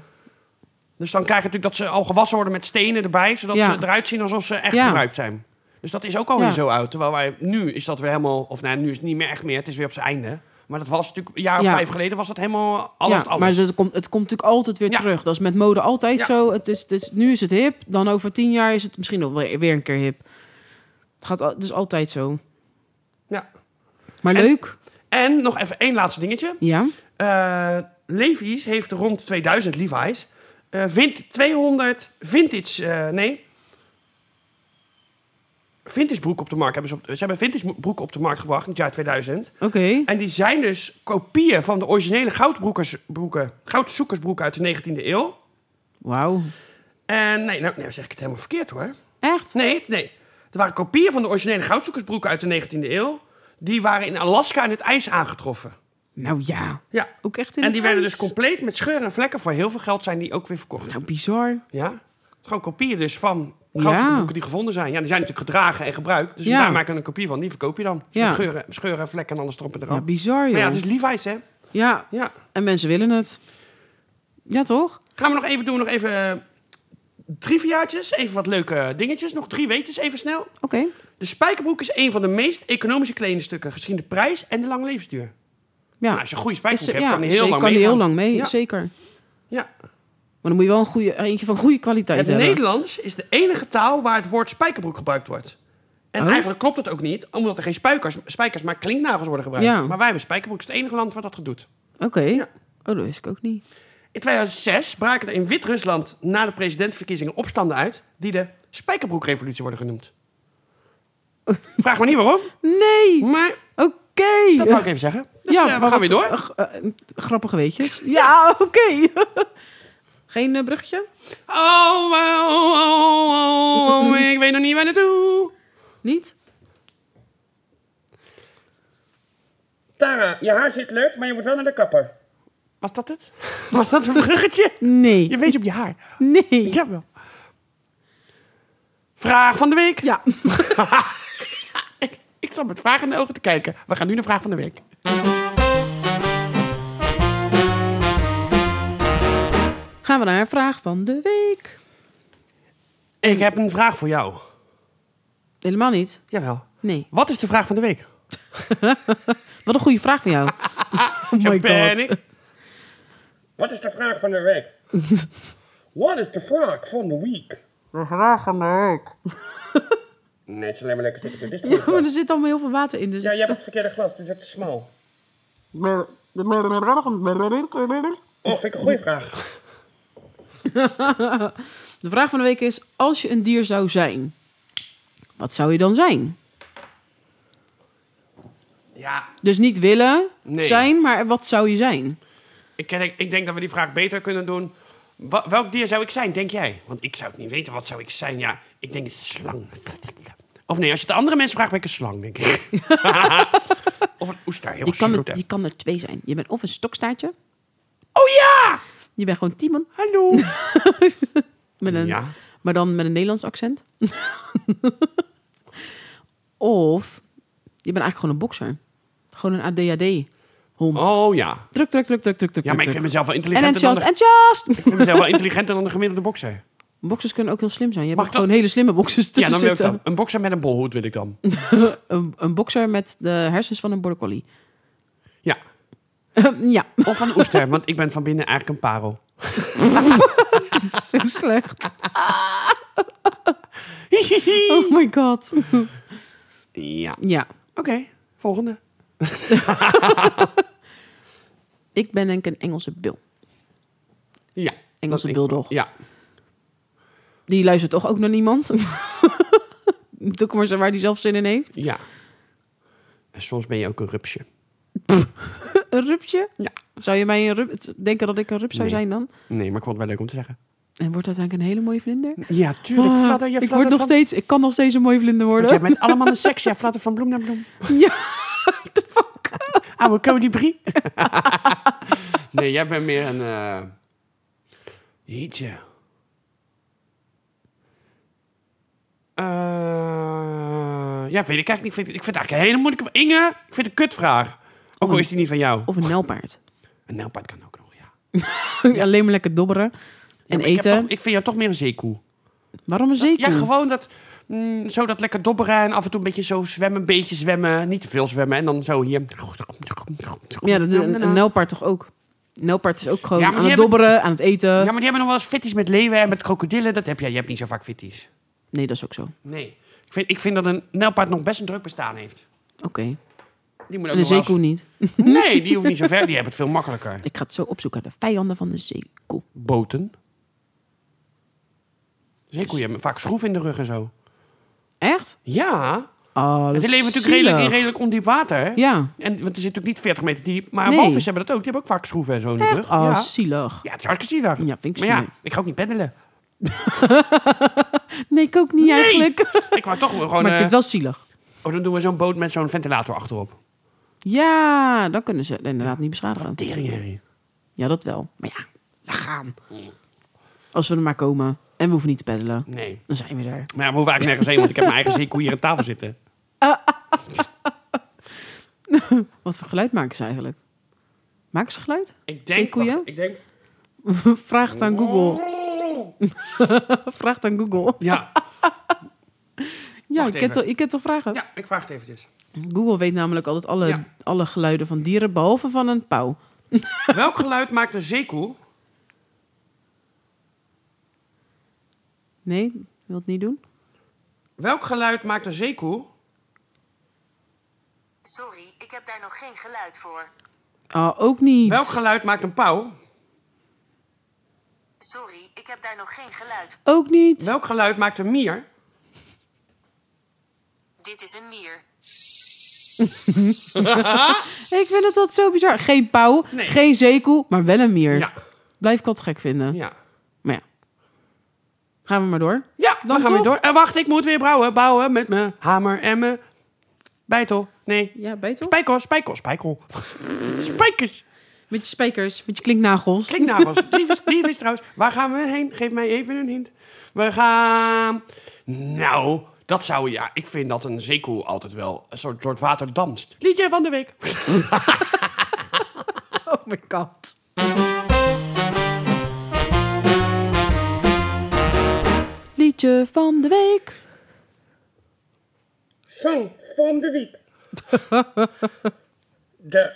Speaker 3: Dus dan krijg je natuurlijk dat ze al gewassen worden met stenen erbij, zodat
Speaker 2: Ja.
Speaker 3: ze eruit zien alsof ze echt
Speaker 2: Ja.
Speaker 3: gebruikt zijn. Dus dat is ook alweer
Speaker 2: Ja.
Speaker 3: zo oud. Terwijl wij nu is dat weer helemaal, of nou, nu is het niet meer echt meer, het is weer op zijn einde. Maar dat was natuurlijk een jaar of
Speaker 2: Ja.
Speaker 3: vijf geleden was dat helemaal
Speaker 2: ja,
Speaker 3: alles. alles.
Speaker 2: maar het komt, het komt natuurlijk altijd weer
Speaker 3: Ja.
Speaker 2: terug. Dat is met mode altijd
Speaker 3: Ja.
Speaker 2: zo. Het is, het is- nu is het hip, dan over tien jaar is het misschien nog weer, weer een keer hip. Het gaat al- het is altijd zo.
Speaker 3: Ja.
Speaker 2: Maar
Speaker 3: En-
Speaker 2: leuk.
Speaker 3: En nog even één laatste dingetje.
Speaker 2: Ja.
Speaker 3: Eh, Levi's heeft rond 2000 Levi's eh, vint- 200 vintage, eh, nee, vintage broeken op de markt hebben. Ze, op, ze hebben vintage broeken op de markt gebracht in het jaar 2000.
Speaker 2: Oké.
Speaker 3: En die zijn dus kopieën van de originele goudbroekers- broeken, goudzoekersbroeken uit de 19e eeuw.
Speaker 2: Wauw.
Speaker 3: En nee, nou, nee, zeg ik het helemaal verkeerd hoor.
Speaker 2: Echt?
Speaker 3: Nee, nee. Er waren kopieën van de originele goudzoekersbroeken uit de 19e eeuw. Die waren in Alaska in het ijs aangetroffen.
Speaker 2: Nou ja.
Speaker 3: Ja.
Speaker 2: Ook echt in
Speaker 3: En
Speaker 2: het
Speaker 3: die werden
Speaker 2: ijs.
Speaker 3: dus compleet met scheuren en vlekken. Voor heel veel geld zijn die ook weer verkocht.
Speaker 2: Nou, bizar.
Speaker 3: Ja. Gewoon kopieën dus van
Speaker 2: Ja.
Speaker 3: goudzoekersbroeken die gevonden zijn. Ja, die zijn natuurlijk gedragen en gebruikt. Dus
Speaker 2: Ja.
Speaker 3: daar maken we een kopie van. Die verkoop je dan. Dus
Speaker 2: Ja.
Speaker 3: met geuren, scheuren en vlekken en alles erop en erop.
Speaker 2: Ja, bizar, joh.
Speaker 3: maar ja, het is Levi's hè.
Speaker 2: Ja,
Speaker 3: Ja.
Speaker 2: en mensen willen het. Ja, toch?
Speaker 3: Gaan we nog even doen, nog even eh, triviaatjes, even wat leuke dingetjes, nog drie weetjes even snel.
Speaker 2: Oké.
Speaker 3: De spijkerbroek is een van de meest economische kledingstukken, gezien de prijs en de lange levensduur.
Speaker 2: Ja.
Speaker 3: Nou, als je een goede
Speaker 2: Is-
Speaker 3: spijkerbroek
Speaker 2: ja,
Speaker 3: hebt, kan die
Speaker 2: ze-
Speaker 3: heel lang
Speaker 2: kan die heel
Speaker 3: meegaan.
Speaker 2: lang mee,
Speaker 3: Ja.
Speaker 2: zeker.
Speaker 3: Ja.
Speaker 2: Maar dan moet je wel een goede, eentje van goede kwaliteit
Speaker 3: Het
Speaker 2: hebben.
Speaker 3: Nederlands is de enige taal waar het woord spijkerbroek gebruikt wordt. En
Speaker 2: Oh.
Speaker 3: eigenlijk klopt het ook niet, omdat er geen spijkers, spijkers maar klinknagels worden gebruikt.
Speaker 2: Ja.
Speaker 3: Maar wij hebben spijkerbroek, het is het enige land waar dat gedoet.
Speaker 2: Oké.
Speaker 3: Ja.
Speaker 2: Oh, dat wist ik ook niet.
Speaker 3: In 2006 braken er in Wit-Rusland na de presidentsverkiezingen opstanden uit die de spijkerbroekrevolutie worden genoemd. Vraag me niet waarom,
Speaker 2: Nee!
Speaker 3: maar
Speaker 2: Oké!
Speaker 3: dat wou ik even zeggen. Dus eh, we
Speaker 2: maar
Speaker 3: gaan weer
Speaker 2: wat-
Speaker 3: door.
Speaker 2: eh, eh, grappige weetjes. Ja, oké. Geen eh, bruggetje?
Speaker 3: Oh, oh, oh, oh, oh, ik weet nog niet waar naartoe.
Speaker 2: Niet?
Speaker 1: Tara, je haar zit leuk, maar je moet wel naar de kapper.
Speaker 3: eh, Was dat het? Was dat een bruggetje? Je
Speaker 2: Nee.
Speaker 3: wees op je haar.
Speaker 2: Nee.
Speaker 3: Jawel. Vraag van de week.
Speaker 2: Ja.
Speaker 3: Ik, ik zat met vragen in de ogen te kijken. We gaan nu naar vraag van de week.
Speaker 2: Gaan we naar vraag van de week.
Speaker 3: Ik heb een vraag voor jou.
Speaker 2: Helemaal niet.
Speaker 3: Jawel.
Speaker 2: Nee.
Speaker 3: Wat is de vraag van de week?
Speaker 2: Wat een goede vraag van jou. oh
Speaker 3: Zo
Speaker 2: my
Speaker 3: ben
Speaker 2: god.
Speaker 3: ik.
Speaker 1: Wat is de vraag van de week? Wat is de vraag van de week?
Speaker 2: De vraag van de week.
Speaker 1: Nee, het is alleen maar lekker zitten. Dit is
Speaker 2: Ja, maar
Speaker 1: ja,
Speaker 2: er zit allemaal heel veel water in. Dus...
Speaker 1: ja, je hebt het verkeerde glas, dit is ook te smal. Oh, vind ik een goede vraag.
Speaker 2: De vraag van de week is: als je een dier zou zijn, wat zou je dan zijn?
Speaker 3: Ja,
Speaker 2: Dus niet willen
Speaker 3: Nee.
Speaker 2: zijn, maar wat zou je zijn?
Speaker 3: ik, ken- ik denk dat we die vraag beter kunnen doen. Wa- welk dier zou ik zijn, denk jij? Want ik zou het niet weten. Wat zou ik zijn? Ja, ik denk het is een slang. Of nee, als je de andere mensen vraagt, ben ik een slang, denk ik. of een oester, heel
Speaker 2: Je kan,
Speaker 3: groot.
Speaker 2: er, je kan er twee zijn. Je bent of een stokstaartje,
Speaker 3: Oh ja!
Speaker 2: je bent gewoon Timon,
Speaker 3: Hallo!
Speaker 2: met een,
Speaker 3: Ja.
Speaker 2: maar dan met een Nederlands accent. of je bent eigenlijk gewoon een bokser. Gewoon een ADHD-hond.
Speaker 3: Oh ja.
Speaker 2: Druk, druk, druk, druk, druk, druk.
Speaker 3: Ja, maar ik
Speaker 2: druk.
Speaker 3: vind mezelf wel
Speaker 2: En
Speaker 3: intelligenter, dan
Speaker 2: enthousiast,
Speaker 3: de, ik
Speaker 2: enthousiast!
Speaker 3: vind mezelf wel intelligenter dan de gemiddelde bokser.
Speaker 2: Boxers kunnen ook heel slim zijn. Je hebt
Speaker 3: Mag
Speaker 2: ook
Speaker 3: ik
Speaker 2: gewoon hele slimme boxers
Speaker 3: Ja,
Speaker 2: tussen
Speaker 3: dan wil ik
Speaker 2: zitten.
Speaker 3: dan. Een bokser met een bolhoed wil ik dan.
Speaker 2: Een, een bokser met de hersens van een border collie. Ehm,
Speaker 3: Ja.
Speaker 2: ja.
Speaker 3: Of een oester, want ik ben van binnen eigenlijk een parel.
Speaker 2: Zo slecht. Oh my god.
Speaker 3: ja.
Speaker 2: Ja.
Speaker 3: Oké, volgende.
Speaker 2: Ik ben denk ik een Engelse bil.
Speaker 3: Ja.
Speaker 2: Engelse
Speaker 3: dat ik-
Speaker 2: bulldog.
Speaker 3: Ja.
Speaker 2: Die luistert toch ook naar niemand? Doe maar zo waar die zelf zin in heeft.
Speaker 3: Ja. En soms ben je ook een rupsje.
Speaker 2: Een rupsje?
Speaker 3: Ja.
Speaker 2: Zou je mij een rup... denken dat ik een rup zou
Speaker 3: Nee.
Speaker 2: zijn dan?
Speaker 3: Nee, maar ik vond het wel leuk om te zeggen.
Speaker 2: En wordt uiteindelijk een hele mooie vlinder?
Speaker 3: Ja, tuurlijk.
Speaker 2: Ah,
Speaker 3: fladder, je
Speaker 2: ik,
Speaker 3: fladder
Speaker 2: word nog
Speaker 3: van-
Speaker 2: steeds, ik kan nog steeds een mooie vlinder worden.
Speaker 3: Want jij bent allemaal een seks. Ja, flatter van bloem naar bloem. Ah,
Speaker 2: Ja, the fuck.
Speaker 3: Oude kolibrie. nee, jij bent meer een... eh Jeetje. Eh, ja, weet ik eigenlijk niet. Ik vind, ik vind het eigenlijk een hele moeilijke... Inge, ik vind het een kutvraag. Ook
Speaker 2: Oh.
Speaker 3: al is die niet van jou.
Speaker 2: Of een nelpaard.
Speaker 3: Een nelpaard kan ook nog, ja.
Speaker 2: Alleen maar lekker dobberen. En
Speaker 3: Maar Ik,
Speaker 2: eten.
Speaker 3: heb toch- ik vind jou toch meer een zeekoe.
Speaker 2: Waarom een zeekoe?
Speaker 3: Ja, gewoon dat... mm, zo dat lekker dobberen en af en toe een beetje zo zwemmen, een beetje zwemmen. Niet te veel zwemmen en dan zo hier...
Speaker 2: Ja, dat doet een, een nelpaard toch ook. Een Nelpaard is ook gewoon
Speaker 3: Ja, maar
Speaker 2: aan
Speaker 3: die
Speaker 2: het
Speaker 3: hebben-
Speaker 2: dobberen, aan het eten.
Speaker 3: Ja, maar die hebben nog wel eens fitties met leeuwen en met krokodillen. Dat heb jij. Je hebt niet zo vaak fitties.
Speaker 2: Nee, dat is ook zo. Oké.
Speaker 3: Nee. Ik vind, ik vind dat een nelpaard nog best een druk bestaan heeft. Die moet ook
Speaker 2: En een
Speaker 3: nog wel
Speaker 2: zeekoe niet.
Speaker 3: eens- Nee, die hoeft niet zo ver. Die hebben het veel makkelijker.
Speaker 2: Ik ga het zo opzoeken. De vijanden van de zeekoe.
Speaker 3: Boten. Zeekoeien hebben vaak schroeven in de rug en zo.
Speaker 2: Echt?
Speaker 3: Ja,
Speaker 2: Oh, dat
Speaker 3: die
Speaker 2: is
Speaker 3: leven natuurlijk redelijk in
Speaker 2: zielig.
Speaker 3: redelijk ondiep water. hè?
Speaker 2: Ja.
Speaker 3: En, want er zit natuurlijk niet 40 meter diep. Maar
Speaker 2: Nee.
Speaker 3: walvissen hebben dat ook. Die hebben ook vaak schroeven en zo in de rug.
Speaker 2: Echt? Oh,
Speaker 3: ja.
Speaker 2: zielig.
Speaker 3: ja, het is hartstikke zielig.
Speaker 2: Ja, vind ik
Speaker 3: maar ja,
Speaker 2: zielig.
Speaker 3: ik ga ook niet peddelen.
Speaker 2: Nee, ik ook niet eigenlijk.
Speaker 3: Ik wou toch gewoon...
Speaker 2: Maar ik
Speaker 3: eh,
Speaker 2: vind het wel zielig.
Speaker 3: Oh, dan doen we zo'n boot met zo'n ventilator achterop.
Speaker 2: Ja, dan kunnen ze inderdaad niet beschadigen.
Speaker 3: Tering, Harry.
Speaker 2: Ja, dat wel. Maar ja, laat gaan. Als we er maar komen. En we hoeven niet te peddelen.
Speaker 3: Nee.
Speaker 2: Dan zijn we er.
Speaker 3: Maar ja, we hoeven eigenlijk nergens heen, want ik heb mijn eigen zeekoe hier aan tafel zitten.
Speaker 2: Wat voor geluid maken ze eigenlijk? Maken ze geluid?
Speaker 3: Ik
Speaker 2: Zeekoeien?
Speaker 3: wacht, Ik denk...
Speaker 2: Vraag het aan Google. Vraag het aan Google.
Speaker 3: Ja,
Speaker 2: Ja, je
Speaker 3: Wacht
Speaker 2: kent,
Speaker 3: even.
Speaker 2: toch, je kent toch vragen?
Speaker 3: ja, ik vraag het eventjes.
Speaker 2: Google weet namelijk altijd alle,
Speaker 3: Ja.
Speaker 2: alle geluiden van dieren, behalve van een pauw.
Speaker 3: Welk geluid maakt een zeekoe?
Speaker 2: Nee, je wilt het niet doen?
Speaker 3: Welk geluid maakt een zeekoe?
Speaker 4: Sorry, ik heb daar nog geen geluid voor.
Speaker 2: Oh, ook niet.
Speaker 3: Welk geluid maakt een pauw?
Speaker 4: Sorry, ik heb daar nog geen geluid.
Speaker 2: Ook niet.
Speaker 3: Welk geluid maakt een mier?
Speaker 4: Dit is een mier.
Speaker 2: Ik vind het altijd zo bizar. Geen pauw,
Speaker 3: Nee.
Speaker 2: geen zeekoe, maar wel een mier.
Speaker 3: Ja,
Speaker 2: Blijf ik altijd gek vinden.
Speaker 3: ja.
Speaker 2: Maar ja. Gaan we maar door.
Speaker 3: Ja, dan, gaan we
Speaker 2: toch?
Speaker 3: door. En wacht, ik moet weer brouwen, bouwen met mijn hamer en mijn bijtel. Nee,
Speaker 2: Ja, beter.
Speaker 3: spijkel, spijkel, spijkel. Spijkers.
Speaker 2: Met je spijkers, met je klinknagels.
Speaker 3: Klinknagels. nou, Lief is, lief is trouwens. Waar gaan we heen? Geef mij even een hint. We gaan... Nou, dat zou... Ja, ik vind dat een zeekoe altijd wel een soort, soort water danst. Liedje van de week.
Speaker 2: Oh mijn god. Liedje van de week.
Speaker 1: Song van de week. De.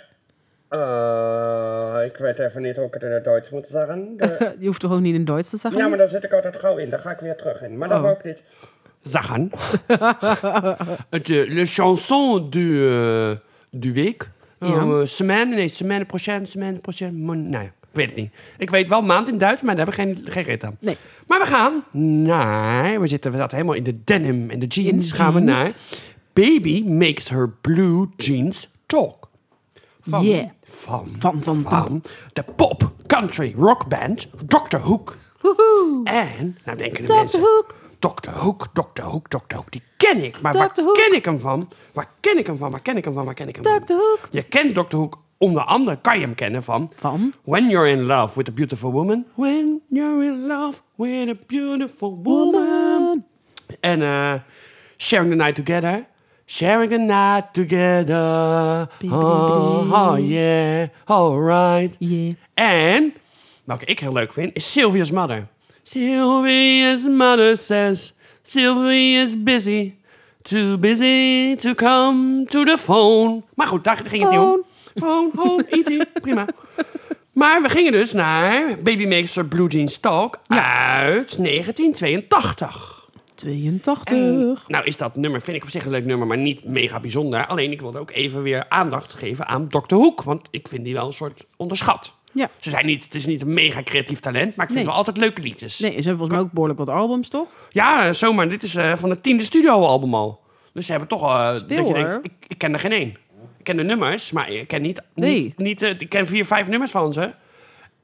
Speaker 1: eh, ik weet even niet hoe ik het in het Duits moet zeggen. De,
Speaker 2: Je Eh, hoeft toch ook niet in Duits te zeggen?
Speaker 1: ja, maar daar zit ik altijd gauw in. Daar ga ik weer terug in. Maar dat
Speaker 2: Oh.
Speaker 1: wou ik niet.
Speaker 3: Zagen. Het, eh, Le chanson du, eh, du week. Eh,
Speaker 2: Ja.
Speaker 3: semaine, nee, semaine prochaine, semaine prochaine. Mon, nou ja, ik weet het niet. Ik weet wel maand in Duits, maar daar hebben we geen, geen reet aan.
Speaker 2: Nee.
Speaker 3: Maar we gaan naar... We zitten we zaten helemaal in de denim en de jeans.
Speaker 2: In de
Speaker 3: gaan we
Speaker 2: jeans.
Speaker 3: naar... Baby makes her blue jeans talk. Van,
Speaker 2: Yeah.
Speaker 3: van,
Speaker 2: Van, van, van.
Speaker 3: de pop country rock band Dr. Hook.
Speaker 2: Woehoe.
Speaker 3: En, nou denken de
Speaker 2: Dr.
Speaker 3: mensen...
Speaker 2: Hook.
Speaker 3: Dr. Hook, Dr. Hook, Dr. Hook, die ken ik. Maar waar
Speaker 2: Dr. Hook.
Speaker 3: ken ik hem van? Waar ken ik hem van? Waar ken ik hem van? Waar ken ik hem van?
Speaker 2: Dr. Hook.
Speaker 3: Je kent Dr. Hook onder andere, kan je hem kennen van...
Speaker 2: Van?
Speaker 3: When you're in love with a beautiful woman. When you're in love with a beautiful woman. En eh, Sharing the night together. Sharing the night together. Oh, oh yeah, alright.
Speaker 2: Yeah.
Speaker 3: En, welke ik heel leuk vind, is Sylvia's mother. Sylvia's mother says, Sylvia's busy. Too busy to come to the phone. Maar goed, daar ging het niet om. Phone, home, E.T. prima. Maar we gingen dus naar Baby Makes Her Blue Jeans Talk uit 1982.
Speaker 2: 82.
Speaker 3: Nou is dat nummer, vind ik op zich een leuk nummer, maar niet mega bijzonder. Alleen ik wilde ook even weer aandacht geven aan Dr. Hoek. Want ik vind die wel een soort onderschat.
Speaker 2: Ja.
Speaker 3: Ze zijn niet, het is niet een mega creatief talent, maar ik vind
Speaker 2: Nee.
Speaker 3: wel altijd leuke liedjes.
Speaker 2: Nee, ze hebben volgens mij ook behoorlijk wat albums, toch?
Speaker 3: Ja, eh, zomaar. Dit is eh, van het tiende studioalbum al. Dus ze hebben toch... eh
Speaker 2: veel,
Speaker 3: dat je
Speaker 2: hoor.
Speaker 3: denkt, ik, ik ken er geen één. Ik ken de nummers, maar ik ken niet...
Speaker 2: Nee.
Speaker 3: niet, niet eh, ik ken vier, vijf nummers van ze.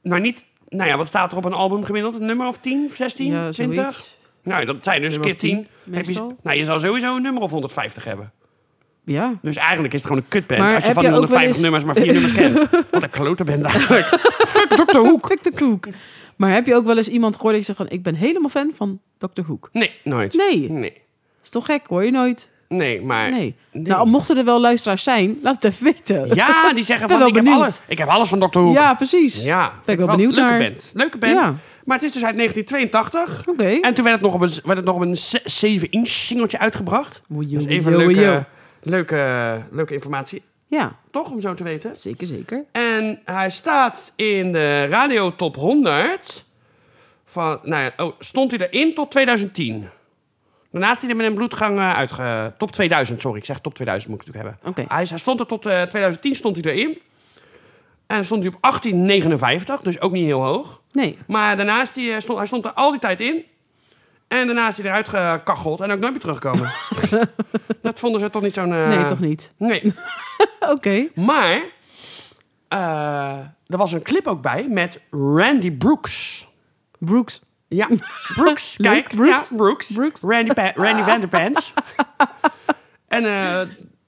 Speaker 3: Maar niet... Nou ja, wat staat er op een album gemiddeld? Een nummer of 10, 16,
Speaker 2: Ja,
Speaker 3: 20?
Speaker 2: zoiets.
Speaker 3: Nou, dat zijn dus een
Speaker 2: Nummer
Speaker 3: keer
Speaker 2: of tien,
Speaker 3: 10. Heb je,
Speaker 2: meestal.
Speaker 3: nou, je zou sowieso een nummer of 150 hebben.
Speaker 2: Ja.
Speaker 3: Dus eigenlijk is het gewoon een kutband
Speaker 2: Maar
Speaker 3: als je
Speaker 2: heb
Speaker 3: van
Speaker 2: je
Speaker 3: die
Speaker 2: ook wel
Speaker 3: 150
Speaker 2: eens-
Speaker 3: nummers maar vier nummers kent. Wat een klote band eigenlijk. Fuck Dr. Hoek.
Speaker 2: Perfecte kloek. Maar heb je ook wel eens iemand gehoord die zegt van... ik ben helemaal fan van Dr. Hoek?
Speaker 3: Nee, nooit.
Speaker 2: Nee.
Speaker 3: Nee,
Speaker 2: Is toch gek? Hoor je nooit?
Speaker 3: nee maar...
Speaker 2: Nee. Nou, mochten er wel luisteraars zijn, laat het even weten.
Speaker 3: Ja, die zeggen
Speaker 2: ben
Speaker 3: van,
Speaker 2: wel
Speaker 3: ik heb,
Speaker 2: benieuwd.
Speaker 3: alles, ik heb alles van Dr. Hoek.
Speaker 2: Ja, precies.
Speaker 3: Ja,
Speaker 2: ben ik wel
Speaker 3: Wel-
Speaker 2: benieuwd
Speaker 3: leuke
Speaker 2: naar.
Speaker 3: Band. Leuke band.
Speaker 2: Ja.
Speaker 3: Maar het is dus uit 1982.
Speaker 2: Oké.
Speaker 3: En toen werd het nog op een, werd het nog op een 7-inch singeltje uitgebracht.
Speaker 2: Oei,
Speaker 3: Dus
Speaker 2: oei,
Speaker 3: even
Speaker 2: oei, oei,
Speaker 3: leuke,
Speaker 2: oei.
Speaker 3: Leuke, leuke informatie,
Speaker 2: Ja,
Speaker 3: toch? Om zo te weten.
Speaker 2: zeker, zeker.
Speaker 3: En hij staat in de Radio Top 100. Van, nou ja, oh, stond hij erin tot 2010. Daarna is hij er met een bloedgang eh, uitge... Top 2000, sorry. Ik zeg top 2000 moet ik natuurlijk hebben.
Speaker 2: Oké.
Speaker 3: Hij, hij stond er tot eh, 2010 stond hij erin. En stond hij op 1859, dus ook niet heel hoog.
Speaker 2: Nee.
Speaker 3: Maar daarnaast, hij eh, stond, hij stond er al die tijd in. En daarna is hij eruit gekacheld en ook nooit meer teruggekomen. dat vonden ze toch niet zo'n... eh,
Speaker 2: Nee, toch niet.
Speaker 3: Nee.
Speaker 2: Oké.
Speaker 3: Maar eh, er was een clip ook bij met Randy Brooks.
Speaker 2: Brooks.
Speaker 3: Ja, Brooks.
Speaker 2: Leuk,
Speaker 3: kijk,
Speaker 2: Brooks.
Speaker 3: Ja, Brooks.
Speaker 2: Brooks.
Speaker 3: Randy, pa- Randy Vanderpants. en eh,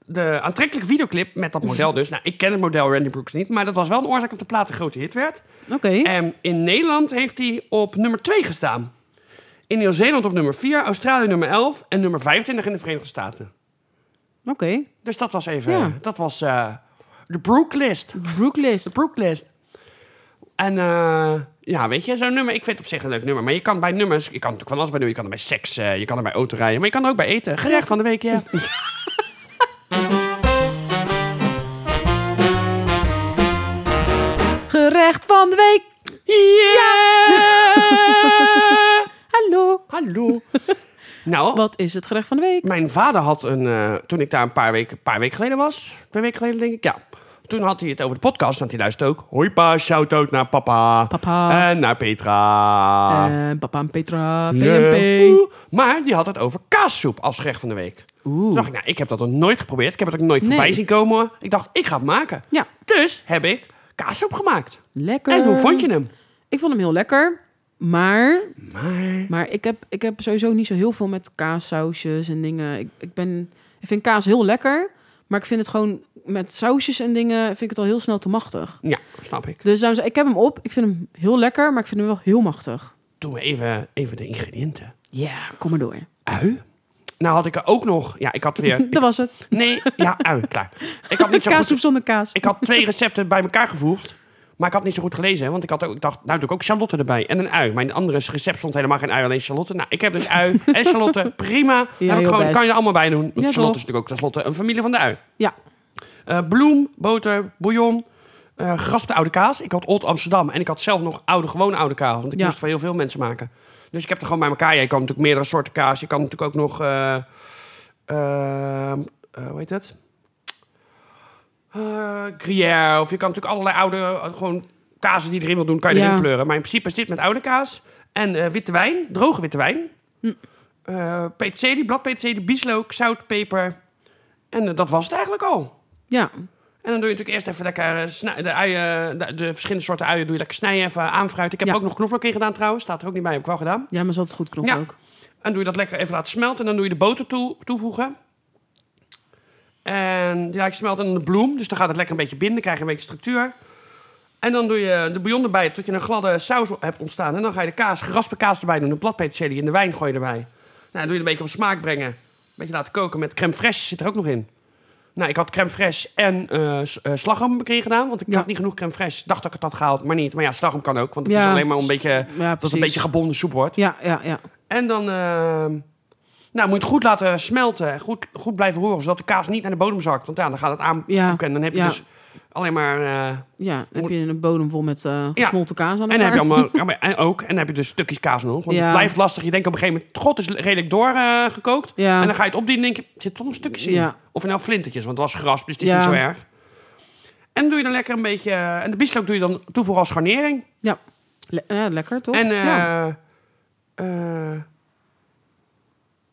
Speaker 3: de aantrekkelijke videoclip met dat model dus. Nou, ik ken het model Randy Brooks niet, maar dat was wel een oorzaak dat de plaat een grote hit werd.
Speaker 2: Oké.
Speaker 3: En in Nederland heeft hij op nummer 2 gestaan. In Nieuw-Zeeland op nummer 4, Australië nummer 11 en nummer 25 in de Verenigde Staten.
Speaker 2: Oké.
Speaker 3: Dus dat was even,
Speaker 2: Ja.
Speaker 3: dat was eh, de Brooklist.
Speaker 2: Brooklist.
Speaker 3: De Brooklist. En eh, ja, weet je, zo'n nummer, ik vind het op zich een leuk nummer. Maar je kan bij nummers, je kan natuurlijk van alles bij doen. Je kan er bij seks, eh, je kan er bij autorijden, maar je kan er ook bij eten. Gerecht van de week, ja.
Speaker 2: Gerecht van de week.
Speaker 3: Yeah!
Speaker 2: Hallo.
Speaker 3: Hallo. Nou,
Speaker 2: Wat is het gerecht van de week?
Speaker 3: Mijn vader had een, eh, toen ik daar een paar weken, paar weken geleden was, twee weken geleden denk ik, ja. Toen had hij het over de podcast, want hij luistert ook. Hoi pa, shout-out naar papa.
Speaker 2: Papa.
Speaker 3: En naar Petra.
Speaker 2: En papa en Eh, Petra.
Speaker 3: Ja.
Speaker 2: PNP.
Speaker 3: Oeh. Maar die had het over kaassoep als gerecht van de week. Toen dacht ik, nou, ik heb dat nog nooit geprobeerd. Ik heb het ook nooit
Speaker 2: Nee.
Speaker 3: voorbij zien komen. Ik dacht, ik ga het maken.
Speaker 2: Ja.
Speaker 3: Dus heb ik kaassoep gemaakt.
Speaker 2: Lekker.
Speaker 3: En hoe vond je hem?
Speaker 2: Ik vond hem heel lekker. Maar,
Speaker 3: Maar...
Speaker 2: maar ik, heb, ik heb sowieso niet zo heel veel met kaassausjes en dingen. Ik, ik, ben, ik vind kaas heel lekker. Maar ik vind het gewoon met sausjes en dingen vind ik het al heel snel te machtig.
Speaker 3: Ja, snap ik.
Speaker 2: Dus daarom zei ik, ik heb hem op. Ik vind hem heel lekker, maar ik vind hem wel heel machtig.
Speaker 3: Doen we even, even de ingrediënten.
Speaker 2: Ja, kom maar door.
Speaker 3: Ui. Nou had ik er ook nog... Ja, ik had weer... ik-
Speaker 2: Dat was het.
Speaker 3: Nee, ja, ui, klaar. Ik had, niet zo
Speaker 2: Kaassoep
Speaker 3: goed,
Speaker 2: zonder kaas.
Speaker 3: ik had twee recepten bij elkaar gevoegd. Maar ik had niet zo goed gelezen. hè, Want ik, had ook, ik dacht, nou doe ik ook Charlotte erbij. En een ui. Mijn andere recept stond helemaal geen ui, alleen Charlotte. Nou, ik heb dus ui en Charlotte. Prima.
Speaker 2: Ja,
Speaker 3: heb ik
Speaker 2: heel
Speaker 3: gewoon,
Speaker 2: best.
Speaker 3: kan je er allemaal bij doen. Want
Speaker 2: Ja,
Speaker 3: Charlotte
Speaker 2: toch?
Speaker 3: is natuurlijk ook tenslotte een familie van de ui.
Speaker 2: Ja.
Speaker 3: Eh, bloem, boter, bouillon, eh geraspte oude kaas. Ik had Old Amsterdam en ik had zelf nog oude, gewone oude kaas. Want ik
Speaker 2: Ja.
Speaker 3: moest voor heel veel mensen maken. Dus ik heb er gewoon bij elkaar. Ja, je kan natuurlijk meerdere soorten kaas. Je kan natuurlijk ook nog... eh, ehm, eh, hoe heet het? Eh gruyère. Of je kan natuurlijk allerlei oude... eh, gewoon kazen die je erin wil doen, kan je
Speaker 2: Ja.
Speaker 3: erin pleuren. Maar in principe is dit met oude kaas. En eh, witte wijn, droge witte wijn.
Speaker 2: Hm.
Speaker 3: Eh, peterselie, blad peterselie, bieslook, zout, peper. En eh, dat was het eigenlijk al.
Speaker 2: Ja.
Speaker 3: En dan doe je natuurlijk eerst even lekker eh, snij- de uien, de, de verschillende soorten uien doe je lekker snijden, even aanfruiten. Ik heb
Speaker 2: Ja.
Speaker 3: er ook nog knoflook in gedaan trouwens, staat er ook niet bij, heb ik wel gedaan.
Speaker 2: ja, maar ze had het goed knop
Speaker 3: Ja.
Speaker 2: ook.
Speaker 3: En doe je dat lekker even laten smelten en dan doe je de boter toe, toevoegen. En die laat je smelten en de bloem, dus dan gaat het lekker een beetje binden, krijg je een beetje structuur. En dan doe je de bouillon erbij tot je een gladde saus hebt ontstaan. En dan ga je de kaas, geraspe kaas erbij doen, een bladpeterselie en de wijn gooi je erbij. Nou, dan doe je het een beetje op smaak brengen. Een beetje laten koken met crème fraîche zit er ook nog in. Nou, ik had crème fraîche en eh s- eh, slagroom erin gedaan. Want ik
Speaker 2: Ja.
Speaker 3: had niet genoeg crème fraîche. Dacht dat ik het had gehaald, maar niet. Maar ja, slagroom kan ook. Want het is
Speaker 2: Ja,
Speaker 3: alleen maar een beetje,
Speaker 2: ja,
Speaker 3: dat het een
Speaker 2: precies.
Speaker 3: beetje gebonden soep wordt.
Speaker 2: Ja, ja, ja.
Speaker 3: En dan ehm, nou, moet je het goed laten smelten. Goed, goed blijven roeren, zodat de kaas niet naar de bodem zakt. Want ja, dan gaat het aan
Speaker 2: Ja,
Speaker 3: En dan heb je
Speaker 2: ja.
Speaker 3: dus alleen maar... eh,
Speaker 2: Ja, dan
Speaker 3: Moet-
Speaker 2: heb je een bodem vol met eh gesmolten kaas aan
Speaker 3: en dan heb je
Speaker 2: elkaar.
Speaker 3: allemaal, ja, maar- en ook, en dan heb je dus stukjes kaas nog. Want het
Speaker 2: Ja.
Speaker 3: blijft lastig. Je denkt op een gegeven moment, god, het is redelijk doorgekookt.
Speaker 2: Ja.
Speaker 3: En dan ga je het opdienen en denk je, er zit toch een stukje in.
Speaker 2: Ja.
Speaker 3: Of nou flintertjes, want het was gras, dus het is
Speaker 2: Ja.
Speaker 3: niet zo erg. En dan doe je dan lekker een beetje... eh, En de bieslook doe je dan toevoegen als garnering.
Speaker 2: Ja. Le- ja, lekker toch?
Speaker 3: En eh,
Speaker 2: Oh, ja.
Speaker 3: eh,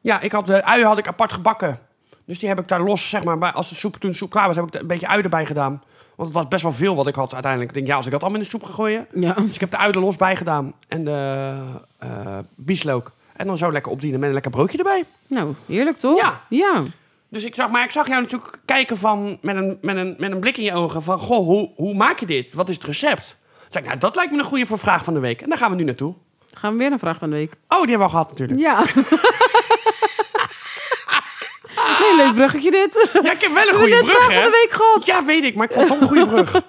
Speaker 3: ja, ik had de uien had ik apart gebakken. Dus die heb ik daar los, zeg maar. bij- Als de soep toen de soep klaar was, heb ik er een beetje ui erbij gedaan. Want het was best wel veel wat ik had uiteindelijk. Ik denk, ja, als ik dat allemaal in de soep ga gooien.
Speaker 2: ja.
Speaker 3: Dus ik heb de ui er los bij gedaan. En de eh bieslook. En dan zo lekker opdienen met een lekker broodje erbij.
Speaker 2: Nou, heerlijk toch?
Speaker 3: Ja.
Speaker 2: Ja.
Speaker 3: Dus ik zag, maar ik zag jou natuurlijk kijken van, met, een, met, een, met een blik in je ogen van... Goh, hoe, hoe maak je dit? Wat is het recept? Toen zei ik, nou, dat lijkt me een goede voor vraag van de week. En daar gaan we nu naartoe.
Speaker 2: Gaan we weer naar vraag van de week.
Speaker 3: Oh, die hebben we al gehad natuurlijk.
Speaker 2: Ja. nee, leuk bruggetje dit.
Speaker 3: Ja, ik heb wel een
Speaker 2: Goeie
Speaker 3: goede
Speaker 2: net
Speaker 3: brug,
Speaker 2: vraag van
Speaker 3: hè?
Speaker 2: de week gehad.
Speaker 3: Ja, weet ik, maar ik vond het wel een goede brug.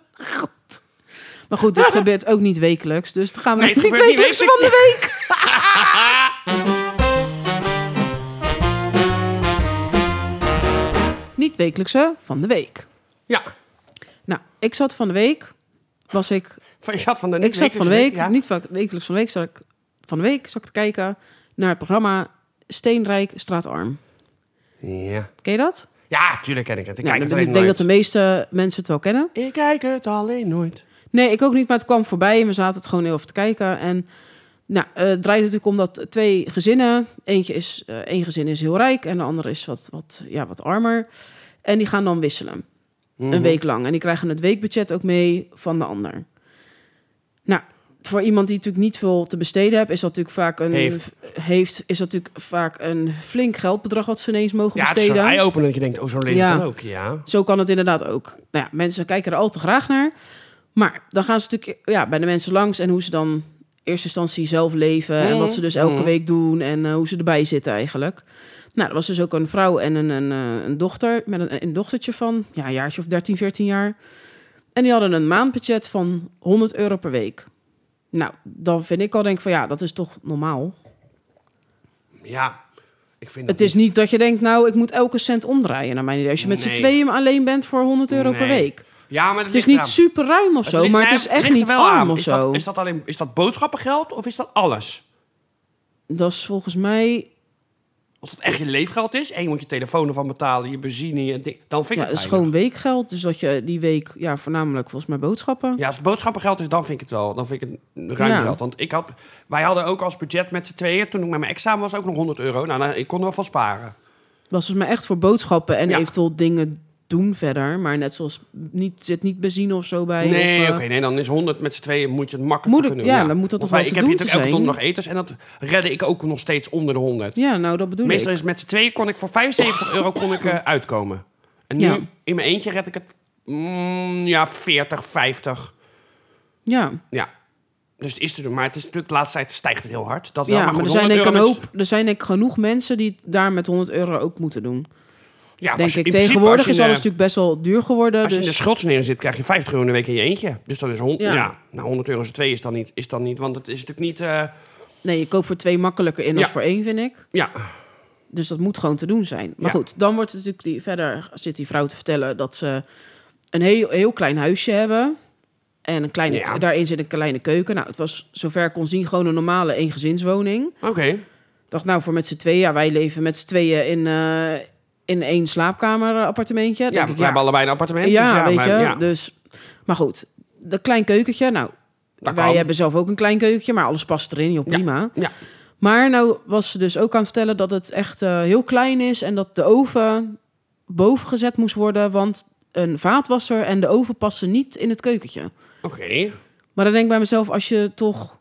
Speaker 2: Maar goed, dit gebeurt ook niet wekelijks. Dus dan gaan we
Speaker 3: Nee, het
Speaker 2: niet
Speaker 3: gebeurt niet
Speaker 2: wekelijks van
Speaker 3: wekelijks.
Speaker 2: de week. niet wekelijkse van de week.
Speaker 3: Ja,
Speaker 2: Nou, ik zat van de week... Was ik
Speaker 3: van, je had van de
Speaker 2: ik zat van de week,
Speaker 3: Ja.
Speaker 2: niet vaak wekelijks van de week, zat ik van de week zat ik te kijken naar het programma Steenrijk Straatarm.
Speaker 3: ja.
Speaker 2: Ken je dat?
Speaker 3: Ja, tuurlijk ken ik het. Ik
Speaker 2: Nou,
Speaker 3: kijk het
Speaker 2: ik
Speaker 3: alleen
Speaker 2: denk
Speaker 3: nooit.
Speaker 2: dat de meeste mensen het wel kennen.
Speaker 3: Ik kijk het alleen nooit.
Speaker 2: Nee, ik ook niet, maar het kwam voorbij en we zaten het gewoon heel even te kijken. En Nou, eh, het draait natuurlijk om dat twee gezinnen. Eentje is, eh één gezin is heel rijk en de andere is wat, wat, ja, wat armer. En die gaan dan wisselen.
Speaker 3: Mhm.
Speaker 2: Een week lang. En die krijgen het weekbudget ook mee van de ander. Nou, voor iemand die natuurlijk niet veel te besteden heeft, is dat natuurlijk vaak een.
Speaker 3: Heeft.
Speaker 2: heeft, is dat natuurlijk vaak een flink geldbedrag wat ze ineens mogen
Speaker 3: Ja, het is
Speaker 2: besteden.
Speaker 3: een eye-opener dat je denkt, oh, zo leef ik
Speaker 2: Ja.
Speaker 3: dan ook. Ja.
Speaker 2: Zo kan het inderdaad ook. Nou ja, mensen kijken er al te graag naar. Maar dan gaan ze natuurlijk ja, bij de mensen langs en hoe ze dan in eerste instantie zelf leven. En wat ze dus elke week doen en eh, hoe ze erbij zitten eigenlijk. Nou, er was dus ook een vrouw en een, een, eh, een dochter met een, een dochtertje van ja, een jaartje of 13, 14 jaar. En die hadden een maandbudget van 100 euro per week. Nou, dan vind ik al denk ik van ja, dat is toch normaal.
Speaker 3: ja, ik vind
Speaker 2: Het is niet dat je denkt, nou, ik moet elke cent omdraaien naar mijn idee. Als je met
Speaker 3: Nee.
Speaker 2: z'n tweeën alleen bent voor 100 euro per
Speaker 3: Nee.
Speaker 2: week.
Speaker 3: Ja, maar
Speaker 2: Het is niet super ruim of zo, maar het is echt niet arm of
Speaker 3: is
Speaker 2: zo.
Speaker 3: Dat,
Speaker 2: Dat
Speaker 3: is,
Speaker 2: is,
Speaker 3: dat alleen, is dat boodschappengeld of is dat alles?
Speaker 2: volgens mij,
Speaker 3: Als dat echt je leefgeld is en je moet je telefoon ervan betalen, je benzine, je ding, dan vind
Speaker 2: ja, het
Speaker 3: ik het
Speaker 2: is gewoon
Speaker 3: weinig.
Speaker 2: weekgeld. Dus dat je die week, ja, voornamelijk volgens mij boodschappen.
Speaker 3: Ja, als het boodschappengeld is, dan vind ik het wel. Dan vind ik het ruim
Speaker 2: Ja.
Speaker 3: geld. Want ik had, wij hadden ook als budget met z'n tweeën, toen ik met mijn examen was, ook nog 100 euro. Nou, nou, ik kon er wel van sparen.
Speaker 2: was volgens mij echt voor boodschappen en
Speaker 3: Ja.
Speaker 2: eventueel dingen doen verder. Maar net zoals, niet, zit niet benzine of zo bij.
Speaker 3: Nee,
Speaker 2: of,
Speaker 3: oké,
Speaker 2: eh,
Speaker 3: nee, dan is 100 met z'n tweeën moet je het makkelijk
Speaker 2: Moet ik-
Speaker 3: kunnen
Speaker 2: ja, dan moet dat
Speaker 3: Want
Speaker 2: toch wel te
Speaker 3: wij- Ik heb hier
Speaker 2: doen
Speaker 3: natuurlijk elke
Speaker 2: zijn?
Speaker 3: donderdag etens en dat redde ik ook nog steeds onder de 100.
Speaker 2: Ja, nou, dat bedoel
Speaker 3: Meestal
Speaker 2: ik.
Speaker 3: is het met z'n tweeën kon ik voor 75 euro kon ik, eh, uitkomen. En nu
Speaker 2: Ja.
Speaker 3: in mijn eentje red ik het, mm, ja, 40, 50.
Speaker 2: Ja,
Speaker 3: Ja. Dus het is te doen. Maar het is natuurlijk, de laatste tijd stijgt het heel hard. Dat wel,
Speaker 2: ja
Speaker 3: maar,
Speaker 2: maar,
Speaker 3: goed,
Speaker 2: er, zijn
Speaker 3: 100
Speaker 2: denk ik een
Speaker 3: euro is-
Speaker 2: hoop, er zijn denk ik genoeg mensen die het daar met 100 euro ook moeten doen.
Speaker 3: Ja, maar
Speaker 2: denk
Speaker 3: als je-
Speaker 2: ik.
Speaker 3: in principe,
Speaker 2: Tegenwoordig
Speaker 3: als
Speaker 2: is
Speaker 3: je in,
Speaker 2: alles
Speaker 3: eh,
Speaker 2: natuurlijk best wel duur geworden.
Speaker 3: Als je
Speaker 2: Dus
Speaker 3: in de schuldsnering zit, krijg je 50 euro in de week in je eentje. Dus dat is 100, ja.
Speaker 2: Ja.
Speaker 3: nou, 100 euro is twee is dan niet, is dan niet. Want het is natuurlijk niet, eh,
Speaker 2: nee, je koopt voor twee makkelijker in als
Speaker 3: Ja.
Speaker 2: voor één, vind ik.
Speaker 3: ja,
Speaker 2: Dus dat moet gewoon te doen zijn. Maar
Speaker 3: Ja.
Speaker 2: goed, dan wordt het natuurlijk die, verder zit die vrouw te vertellen dat ze een heel, heel klein huisje hebben. En een kleine,
Speaker 3: Ja.
Speaker 2: daarin zit een kleine keuken. Nou, het was zover ik kon zien gewoon een normale eengezinswoning.
Speaker 3: oké.
Speaker 2: Ik dacht, nou, voor met z'n tweeën, ja, wij leven met z'n tweeën in, eh, in één slaapkamer appartementje.
Speaker 3: Ja,
Speaker 2: Denk
Speaker 3: we
Speaker 2: ik,
Speaker 3: hebben allebei een appartement.
Speaker 2: ja,
Speaker 3: dus ja,
Speaker 2: weet
Speaker 3: maar,
Speaker 2: je.
Speaker 3: Ja,
Speaker 2: Dus, maar goed, dat klein keukentje. Nou,
Speaker 3: Dat
Speaker 2: wij
Speaker 3: kan.
Speaker 2: hebben zelf ook een klein keukentje, maar alles past erin. Joh, prima.
Speaker 3: ja.
Speaker 2: Maar nou was ze dus ook aan het vertellen dat het echt eh, heel klein is en dat de oven boven gezet moest worden, want een vaatwasser en de oven passen niet in het keukentje.
Speaker 3: Oké.
Speaker 2: Maar dan denk ik bij mezelf, als je toch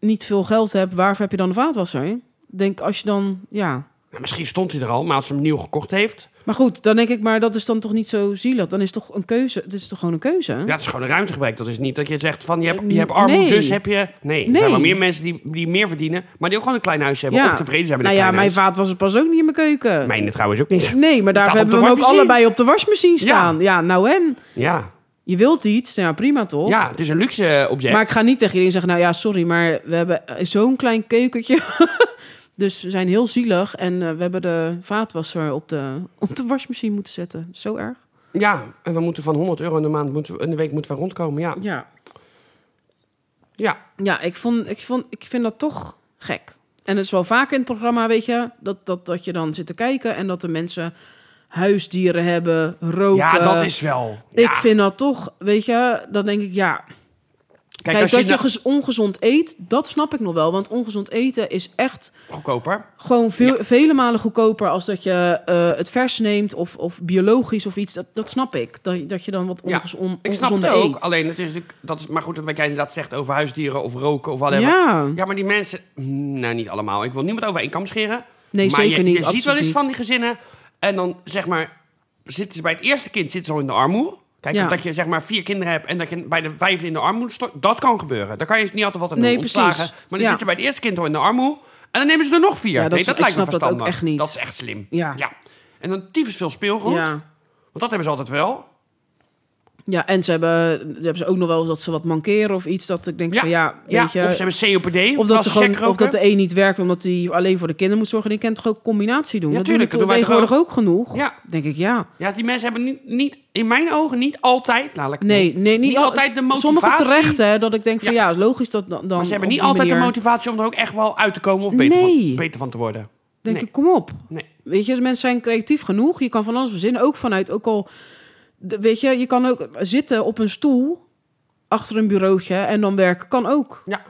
Speaker 2: niet veel geld hebt, waarvoor heb je dan een vaatwasser? Ik Denk als je dan, ja.
Speaker 3: Nou, misschien stond hij er al, maar als ze hem nieuw gekocht heeft...
Speaker 2: Maar goed, dan denk ik, maar dat is dan toch niet zo zielig. Dan is toch een keuze. Dit is toch gewoon een keuze.
Speaker 3: Ja, het is gewoon een ruimtegebrek. Dat is niet dat je zegt van je hebt, je
Speaker 2: Eh,
Speaker 3: hebt armoede,
Speaker 2: nee.
Speaker 3: dus heb je... Nee, er zijn
Speaker 2: Nee.
Speaker 3: wel meer mensen die, die meer verdienen, maar die ook gewoon een klein huis hebben.
Speaker 2: Ja.
Speaker 3: Of tevreden zijn met
Speaker 2: Nou
Speaker 3: een
Speaker 2: ja,
Speaker 3: klein
Speaker 2: mijn
Speaker 3: huis.
Speaker 2: vaatwasser past ook niet in mijn keuken.
Speaker 3: Mijne trouwens ook niet.
Speaker 2: Nee, maar daar
Speaker 3: Staat op
Speaker 2: hebben
Speaker 3: de
Speaker 2: we hem ook
Speaker 3: wasmachine.
Speaker 2: allebei op de wasmachine
Speaker 3: Ja.
Speaker 2: staan. Ja, nou en?
Speaker 3: Ja.
Speaker 2: Je wilt iets, nou ja, prima toch?
Speaker 3: ja, het is een luxe eh, object.
Speaker 2: Maar ik ga niet tegen iedereen zeggen, nou ja, sorry, maar we hebben eh, zo'n klein keukentje. dus we zijn heel zielig en eh, we hebben de vaatwasser op de, op de wasmachine moeten zetten. Zo erg.
Speaker 3: Ja, en we moeten van 100 euro in de, maand moeten, we- in de week moeten we rondkomen, ja.
Speaker 2: Ja,
Speaker 3: Ja,
Speaker 2: ja ik, vond, ik, vond, ik vind dat toch gek. En het is wel vaak in het programma, weet je, dat, dat, dat je dan zit te kijken en dat de mensen huisdieren hebben, roken.
Speaker 3: ja dat is wel...
Speaker 2: eh, Ik
Speaker 3: ja.
Speaker 2: vind dat toch, weet je, dan denk ik, ja,
Speaker 3: Kijk,
Speaker 2: Kijk,
Speaker 3: als je,
Speaker 2: dat je
Speaker 3: nou-
Speaker 2: gez- ongezond eet, dat snap ik nog wel. Want ongezond eten is echt
Speaker 3: goedkoper.
Speaker 2: gewoon veel, vele malen goedkoper als dat je eh, het vers neemt of, of biologisch of iets. Dat, dat snap ik. Dat, dat je dan wat
Speaker 3: Ja,
Speaker 2: ongezo- on-
Speaker 3: Ik snap het
Speaker 2: ongezonder
Speaker 3: ook.
Speaker 2: eet.
Speaker 3: Alleen het is natuurlijk... Dat is, maar goed, wat jij inderdaad zegt over huisdieren of roken of whatever.
Speaker 2: ja.
Speaker 3: Ja, maar die mensen... mm, Nou, niet allemaal. Ik wil niemand over één kam scheren.
Speaker 2: Nee,
Speaker 3: maar
Speaker 2: zeker
Speaker 3: je,
Speaker 2: niet.
Speaker 3: Je ziet wel eens
Speaker 2: absoluut
Speaker 3: van
Speaker 2: niet.
Speaker 3: die gezinnen. En dan zeg maar... Zitten ze bij het eerste kind zitten ze al in de armoede. Kijk,
Speaker 2: Ja.
Speaker 3: dat je zeg maar vier kinderen hebt en dat je bij de vijfde in de armoede stort. Dat kan gebeuren. Daar kan je niet altijd wat aan
Speaker 2: Nee,
Speaker 3: doen. ontslagen.
Speaker 2: precies.
Speaker 3: Maar dan
Speaker 2: Ja.
Speaker 3: zit je bij het eerste kind al in de armoede. En dan nemen ze er nog vier.
Speaker 2: Ja, dat
Speaker 3: nee,
Speaker 2: is-
Speaker 3: dat
Speaker 2: ik
Speaker 3: lijkt me
Speaker 2: snap dat ook
Speaker 3: verstandig.
Speaker 2: echt niet.
Speaker 3: Dat is echt slim.
Speaker 2: Ja.
Speaker 3: En dan tyfus veel speelgoed.
Speaker 2: Ja.
Speaker 3: Want dat hebben ze altijd wel.
Speaker 2: ja, en ze hebben, ze hebben ze ook nog wel eens dat ze wat mankeren of iets. Dat ik denk
Speaker 3: Ja,
Speaker 2: van ja,
Speaker 3: Ja,
Speaker 2: weet je.
Speaker 3: of ze hebben COPD.
Speaker 2: of dat,
Speaker 3: als
Speaker 2: ze
Speaker 3: check
Speaker 2: gewoon, of
Speaker 3: roken.
Speaker 2: dat de een niet werkt omdat hij alleen voor de kinderen moet zorgen. En die kan toch ook combinatie doen?
Speaker 3: Ja,
Speaker 2: dat doen
Speaker 3: tuurlijk,
Speaker 2: we
Speaker 3: dat
Speaker 2: toch
Speaker 3: doen wij toch
Speaker 2: tegenwoordig ook genoeg?
Speaker 3: Ja.
Speaker 2: Denk ik, ja.
Speaker 3: Ja, die mensen hebben niet, niet in mijn ogen niet altijd, nou, laat ik-
Speaker 2: Nee, nee niet, al-
Speaker 3: altijd de motivatie.
Speaker 2: Sommige terecht, hè, dat ik denk van
Speaker 3: Ja.
Speaker 2: ja, logisch dat dan. dan
Speaker 3: Maar ze hebben
Speaker 2: op
Speaker 3: niet
Speaker 2: die
Speaker 3: altijd de
Speaker 2: manier-
Speaker 3: motivatie om er ook echt wel uit te komen of beter, van,
Speaker 2: Nee.
Speaker 3: beter van te worden.
Speaker 2: Denk
Speaker 3: Nee.
Speaker 2: ik, kom op.
Speaker 3: Nee.
Speaker 2: Weet je, de mensen zijn creatief genoeg. Je kan van alles verzinnen. Ook vanuit, ook al. de- Weet je, je kan ook zitten op een stoel achter een bureautje en dan werken kan ook.
Speaker 3: Ja.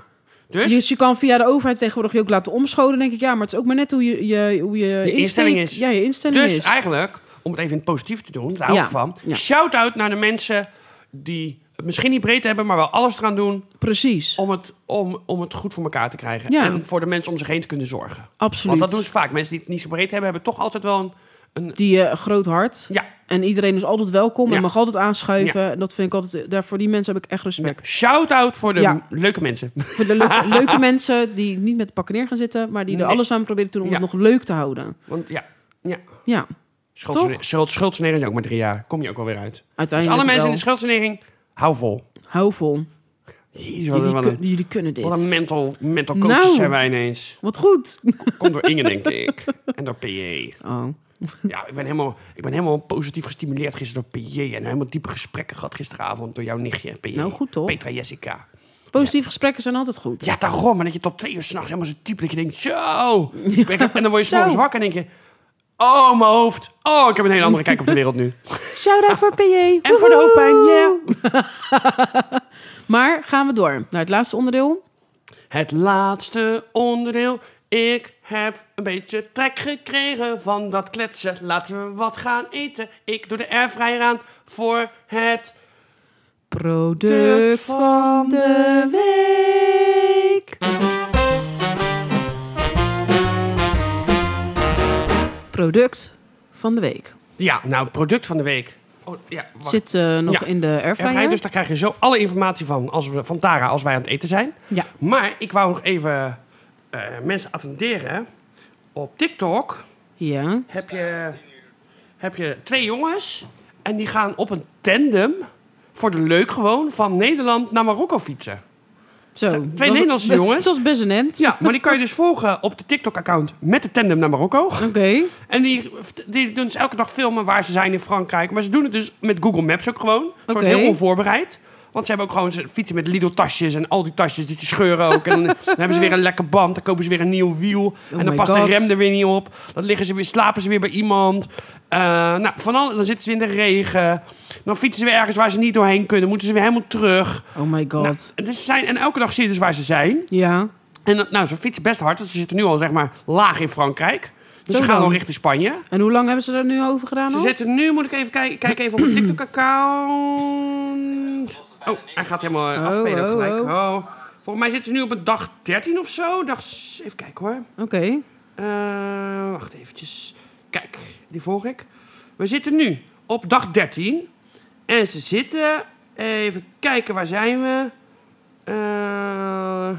Speaker 3: Dus?
Speaker 2: Dus je kan via de overheid tegenwoordig je ook laten omscholen, denk ik. Ja, maar het is ook maar net hoe je, je, hoe je, insteek-
Speaker 3: instelling is.
Speaker 2: Ja, je instelling
Speaker 3: Dus
Speaker 2: is.
Speaker 3: eigenlijk, om het even in het positief te doen, daar hou
Speaker 2: Ja,
Speaker 3: ik van.
Speaker 2: ja.
Speaker 3: Shout-out naar de mensen die het misschien niet breed hebben, maar wel alles eraan doen
Speaker 2: Precies,
Speaker 3: om het, om, om het goed voor elkaar te krijgen.
Speaker 2: Ja.
Speaker 3: En voor de mensen om zich heen te kunnen zorgen.
Speaker 2: absoluut.
Speaker 3: Want dat doen ze vaak. Mensen die het niet zo breed hebben, hebben toch altijd wel een... een
Speaker 2: Die eh, groot hart.
Speaker 3: ja,
Speaker 2: En iedereen is altijd welkom
Speaker 3: Ja.
Speaker 2: en mag altijd aanschuiven. En dat vind ik altijd, eh, daar, voor die mensen heb ik echt respect.
Speaker 3: shout-out voor de
Speaker 2: Ja.
Speaker 3: m- leuke mensen.
Speaker 2: Voor de leuke, leuke mensen die niet met de pakken neer gaan zitten, maar die er
Speaker 3: Nee.
Speaker 2: alles aan proberen te doen om
Speaker 3: Ja.
Speaker 2: het nog leuk te houden.
Speaker 3: Want ja, ja.
Speaker 2: Ja,
Speaker 3: Dus Schuldsanering schuld, schuldsanering is ook maar drie jaar. Kom je ook alweer uit. Dus
Speaker 2: uiteindelijk
Speaker 3: alle mensen
Speaker 2: wel.
Speaker 3: in de schuldsanering, hou vol.
Speaker 2: Hou vol.
Speaker 3: Jezus, wat,
Speaker 2: Jullie,
Speaker 3: een- wat
Speaker 2: kun-
Speaker 3: een,
Speaker 2: jullie kunnen
Speaker 3: wat een
Speaker 2: dit.
Speaker 3: mental, mental coaches
Speaker 2: Nou.
Speaker 3: zijn wij ineens.
Speaker 2: Wat goed.
Speaker 3: Komt door Inge, denk ik. En door PJ.
Speaker 2: Oh.
Speaker 3: Ja, ik ben helemaal, ik ben helemaal positief gestimuleerd gisteren door PJ. En helemaal diepe gesprekken gehad gisteravond door jouw nichtje, PJ.
Speaker 2: Nou, goed, toch?
Speaker 3: Petra Jessica.
Speaker 2: Positieve gesprekken zijn altijd goed.
Speaker 3: Ja, daarom. En dat je tot twee uur s'nachts helemaal zo type dat je denkt, zo. Ik ben- En dan word je s'morgens
Speaker 2: Zo.
Speaker 3: wakker en denk je, oh, mijn hoofd. Oh, ik heb een hele andere kijk op de wereld nu.
Speaker 2: Shout-out voor PJ.
Speaker 3: En voor de hoofdpijn, yeah.
Speaker 2: Maar gaan we door naar het laatste onderdeel.
Speaker 3: Het laatste onderdeel. Ik heb een beetje trek gekregen van dat kletsen. Laten we wat gaan eten. Ik doe de airfryer aan voor het
Speaker 2: Product van de week. Product van de week.
Speaker 3: Ja, nou, product van de week. Oh, ja, wacht.
Speaker 2: Zit eh, nog
Speaker 3: Ja.
Speaker 2: in de
Speaker 3: Airfryer,
Speaker 2: airfryer.
Speaker 3: dus daar krijg je zo alle informatie van, als we, van Tara als wij aan het eten zijn.
Speaker 2: Ja.
Speaker 3: Maar ik wou nog even eh, mensen attenderen. Op TikTok
Speaker 2: Ja.
Speaker 3: heb je, heb je twee jongens. En die gaan op een tandem, voor de leuk gewoon, van Nederland naar Marokko fietsen.
Speaker 2: Zo.
Speaker 3: twee Nederlandse jongens.
Speaker 2: Dat is best een end.
Speaker 3: Ja, maar die kan je dus volgen op de TikTok-account met de tandem naar Marokko.
Speaker 2: Oké.
Speaker 3: En die, die doen dus elke dag filmen waar ze zijn in Frankrijk. Maar ze doen het dus met Google Maps ook gewoon. Een soort
Speaker 2: Oké.
Speaker 3: heel onvoorbereid. Want ze hebben ook gewoon ze fietsen met Lidl-tasjes en al die tasjes die ze scheuren ook. En dan hebben ze weer een lekker band, dan kopen ze weer een nieuw wiel. en dan
Speaker 2: Oh my
Speaker 3: past
Speaker 2: God.
Speaker 3: de rem er weer niet op. Dan liggen ze weer, slapen ze weer bij iemand. Eh, nou, van al, dan zitten ze in de regen. Dan fietsen ze weer ergens waar ze niet doorheen kunnen. Moeten ze weer helemaal terug.
Speaker 2: Oh my god.
Speaker 3: Nou, dus ze zijn, en elke dag zie je dus waar ze zijn.
Speaker 2: ja.
Speaker 3: En dat- nou, ze fietsen best hard. want ze zitten nu al zeg maar laag in Frankrijk. Dus
Speaker 2: Zo
Speaker 3: ze gaan
Speaker 2: dan.
Speaker 3: al richting Spanje.
Speaker 2: En hoe lang hebben ze er nu over gedaan?
Speaker 3: Ze
Speaker 2: al?
Speaker 3: zetten nu, moet ik even kijken, kijk even op de TikTok-account. Oh, hij gaat helemaal eh,
Speaker 2: Oh,
Speaker 3: afspelen ook
Speaker 2: oh,
Speaker 3: gelijk. Oh. Volgens mij zitten ze nu op een dag 13 of zo. Dag, s- even kijken hoor.
Speaker 2: Oké.
Speaker 3: Eh, wacht eventjes. Kijk, die volg ik. We zitten nu op dag 13. En ze zitten... Even kijken, waar zijn we? Eh,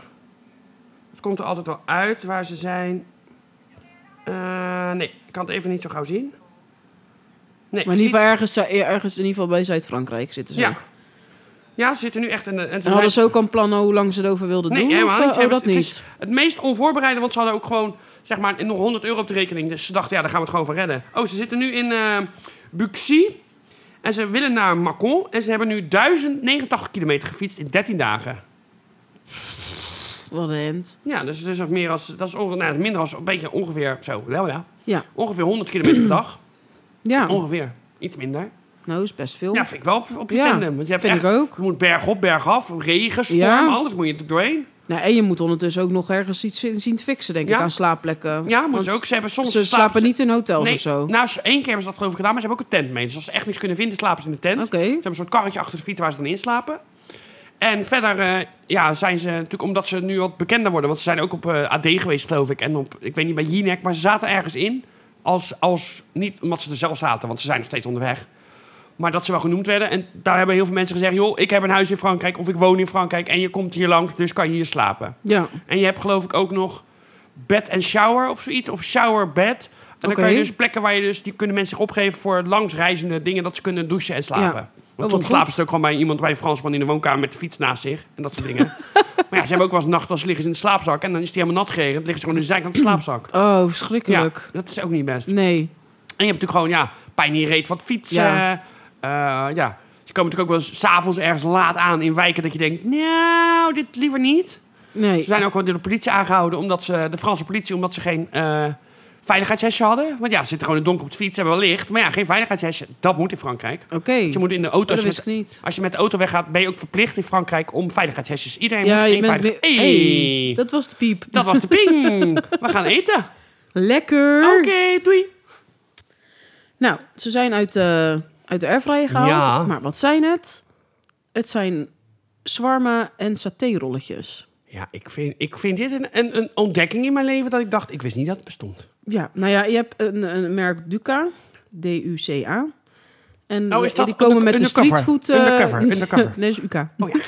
Speaker 3: het komt er altijd wel uit waar ze zijn. Eh, nee, ik kan het even niet zo gauw zien.
Speaker 2: Maar in
Speaker 3: Nee, je
Speaker 2: ieder
Speaker 3: ziet-
Speaker 2: geval ergens, eh, ergens in ieder geval bij Zuid-Frankrijk zitten ze.
Speaker 3: Ja. ja, ze zitten nu echt... In de, en ze
Speaker 2: En hadden
Speaker 3: zijn-
Speaker 2: ze ook al plannen hoe lang ze erover wilden
Speaker 3: Nee,
Speaker 2: doen?
Speaker 3: helemaal
Speaker 2: of,
Speaker 3: niet.
Speaker 2: eh,
Speaker 3: Ze
Speaker 2: Oh,
Speaker 3: hebben-
Speaker 2: dat
Speaker 3: het,
Speaker 2: niet.
Speaker 3: is het meest onvoorbereide, want ze hadden ook gewoon zeg maar nog 100 euro op de rekening. Dus ze dachten, ja, daar gaan we het gewoon van redden. Oh, ze zitten nu in eh Buxy. En ze willen naar Macon. En ze hebben nu 1089 kilometer gefietst in 13 dagen.
Speaker 2: Wat een end.
Speaker 3: Ja, dus, dus of meer als, dat is onge- nou, minder als een beetje ongeveer, zo, wel ja.
Speaker 2: Ja.
Speaker 3: Ongeveer 100 kilometer per dag.
Speaker 2: Ja.
Speaker 3: Ongeveer. Iets minder.
Speaker 2: Nou, is best veel.
Speaker 3: Ja, vind ik wel op, op je
Speaker 2: Ja,
Speaker 3: tandem. Want je hebt
Speaker 2: vind
Speaker 3: echt,
Speaker 2: ik ook.
Speaker 3: Je moet berg op, berg af, regen, storm,
Speaker 2: Ja.
Speaker 3: alles moet je er doorheen.
Speaker 2: Nou, en je moet ondertussen ook nog ergens iets in- zien te fixen, denk
Speaker 3: Ja.
Speaker 2: ik, aan slaapplekken.
Speaker 3: Ja, maar
Speaker 2: Want
Speaker 3: ze ook, ze hebben soms...
Speaker 2: Ze slapen niet in hotels
Speaker 3: Nee,
Speaker 2: of zo.
Speaker 3: Nou, ze- één keer hebben ze dat geloof ik gedaan, maar ze hebben ook een tent mee. Dus als ze echt niks kunnen vinden, slapen ze in de tent.
Speaker 2: Oké.
Speaker 3: Ze hebben een soort karretje achter de fiets waar ze dan in slapen. En verder eh, ja, zijn ze natuurlijk, omdat ze nu wat bekender worden... want ze zijn ook op eh, AD geweest, geloof ik. En op, ik weet niet, bij Jinek, maar ze zaten ergens in. Als, als, niet omdat ze er zelf zaten, want ze zijn nog steeds onderweg. Maar dat ze wel genoemd werden. En daar hebben heel veel mensen gezegd... joh, ik heb een huis in Frankrijk of ik woon in Frankrijk... en je komt hier langs, dus kan je hier slapen.
Speaker 2: Ja.
Speaker 3: En je hebt geloof ik ook nog bed en shower of zoiets. Of shower bed. En dan
Speaker 2: Oké.
Speaker 3: kan je dus plekken waar je dus... Die kunnen mensen zich opgeven voor langsreizende dingen. Dat ze kunnen douchen en slapen.
Speaker 2: Ja. Oh, wat
Speaker 3: Want soms slapen
Speaker 2: goed.
Speaker 3: ze ook gewoon bij iemand, bij een Fransman in de woonkamer met de fiets naast zich. En dat soort dingen. maar ja, ze hebben ook wel eens nacht als ze liggen ze in de slaapzak. En dan is die helemaal nat gereden. Dan liggen ze gewoon in de zijkant van de slaapzak.
Speaker 2: Oh,
Speaker 3: Ja,
Speaker 2: verschrikkelijk.
Speaker 3: dat is ook niet best.
Speaker 2: Nee.
Speaker 3: En je hebt natuurlijk gewoon, ja, pijn in je reet van het fietsen.
Speaker 2: Ja.
Speaker 3: Eh, ja. Ze komen natuurlijk ook wel eens 's avonds ergens laat aan in wijken dat je denkt... Nou, dit liever niet.
Speaker 2: Nee.
Speaker 3: Ze zijn ook wel door de politie aangehouden, omdat ze, de Franse politie, omdat ze geen eh, veiligheidshesje hadden. Want ja, ze zitten gewoon in het donker op de fiets, hebben wel licht. Maar ja, geen veiligheidshesje. Dat moet in Frankrijk.
Speaker 2: Oké.
Speaker 3: Want je moet in de auto...
Speaker 2: Oh, dat
Speaker 3: als, je
Speaker 2: wist ik
Speaker 3: dus met,
Speaker 2: niet.
Speaker 3: als je met de auto weggaat, ben je ook verplicht in Frankrijk om veiligheidshesjes. Iedereen
Speaker 2: Ja,
Speaker 3: moet
Speaker 2: je
Speaker 3: één
Speaker 2: bent
Speaker 3: veilig...
Speaker 2: weer...
Speaker 3: Hey.
Speaker 2: Hey, dat was de piep.
Speaker 3: Dat was de ping. We gaan eten.
Speaker 2: Lekker.
Speaker 3: Oké, doei.
Speaker 2: Nou, ze zijn uit de, uit de airfryer gehaald.
Speaker 3: Ja.
Speaker 2: Maar wat zijn het? Het zijn zwarma en saté-rolletjes.
Speaker 3: Ja, ik vind, ik vind dit een, een, een ontdekking in mijn leven dat ik dacht, ik wist niet dat het bestond.
Speaker 2: Ja, nou ja, je hebt een, een merk Duca. D-U-C-A. En eh,
Speaker 3: Oh, is dat
Speaker 2: die komen
Speaker 3: under-
Speaker 2: met de
Speaker 3: undercover?
Speaker 2: streetfood... eh,
Speaker 3: Undercover, undercover.
Speaker 2: nee, dat is UK.
Speaker 3: Oh ja.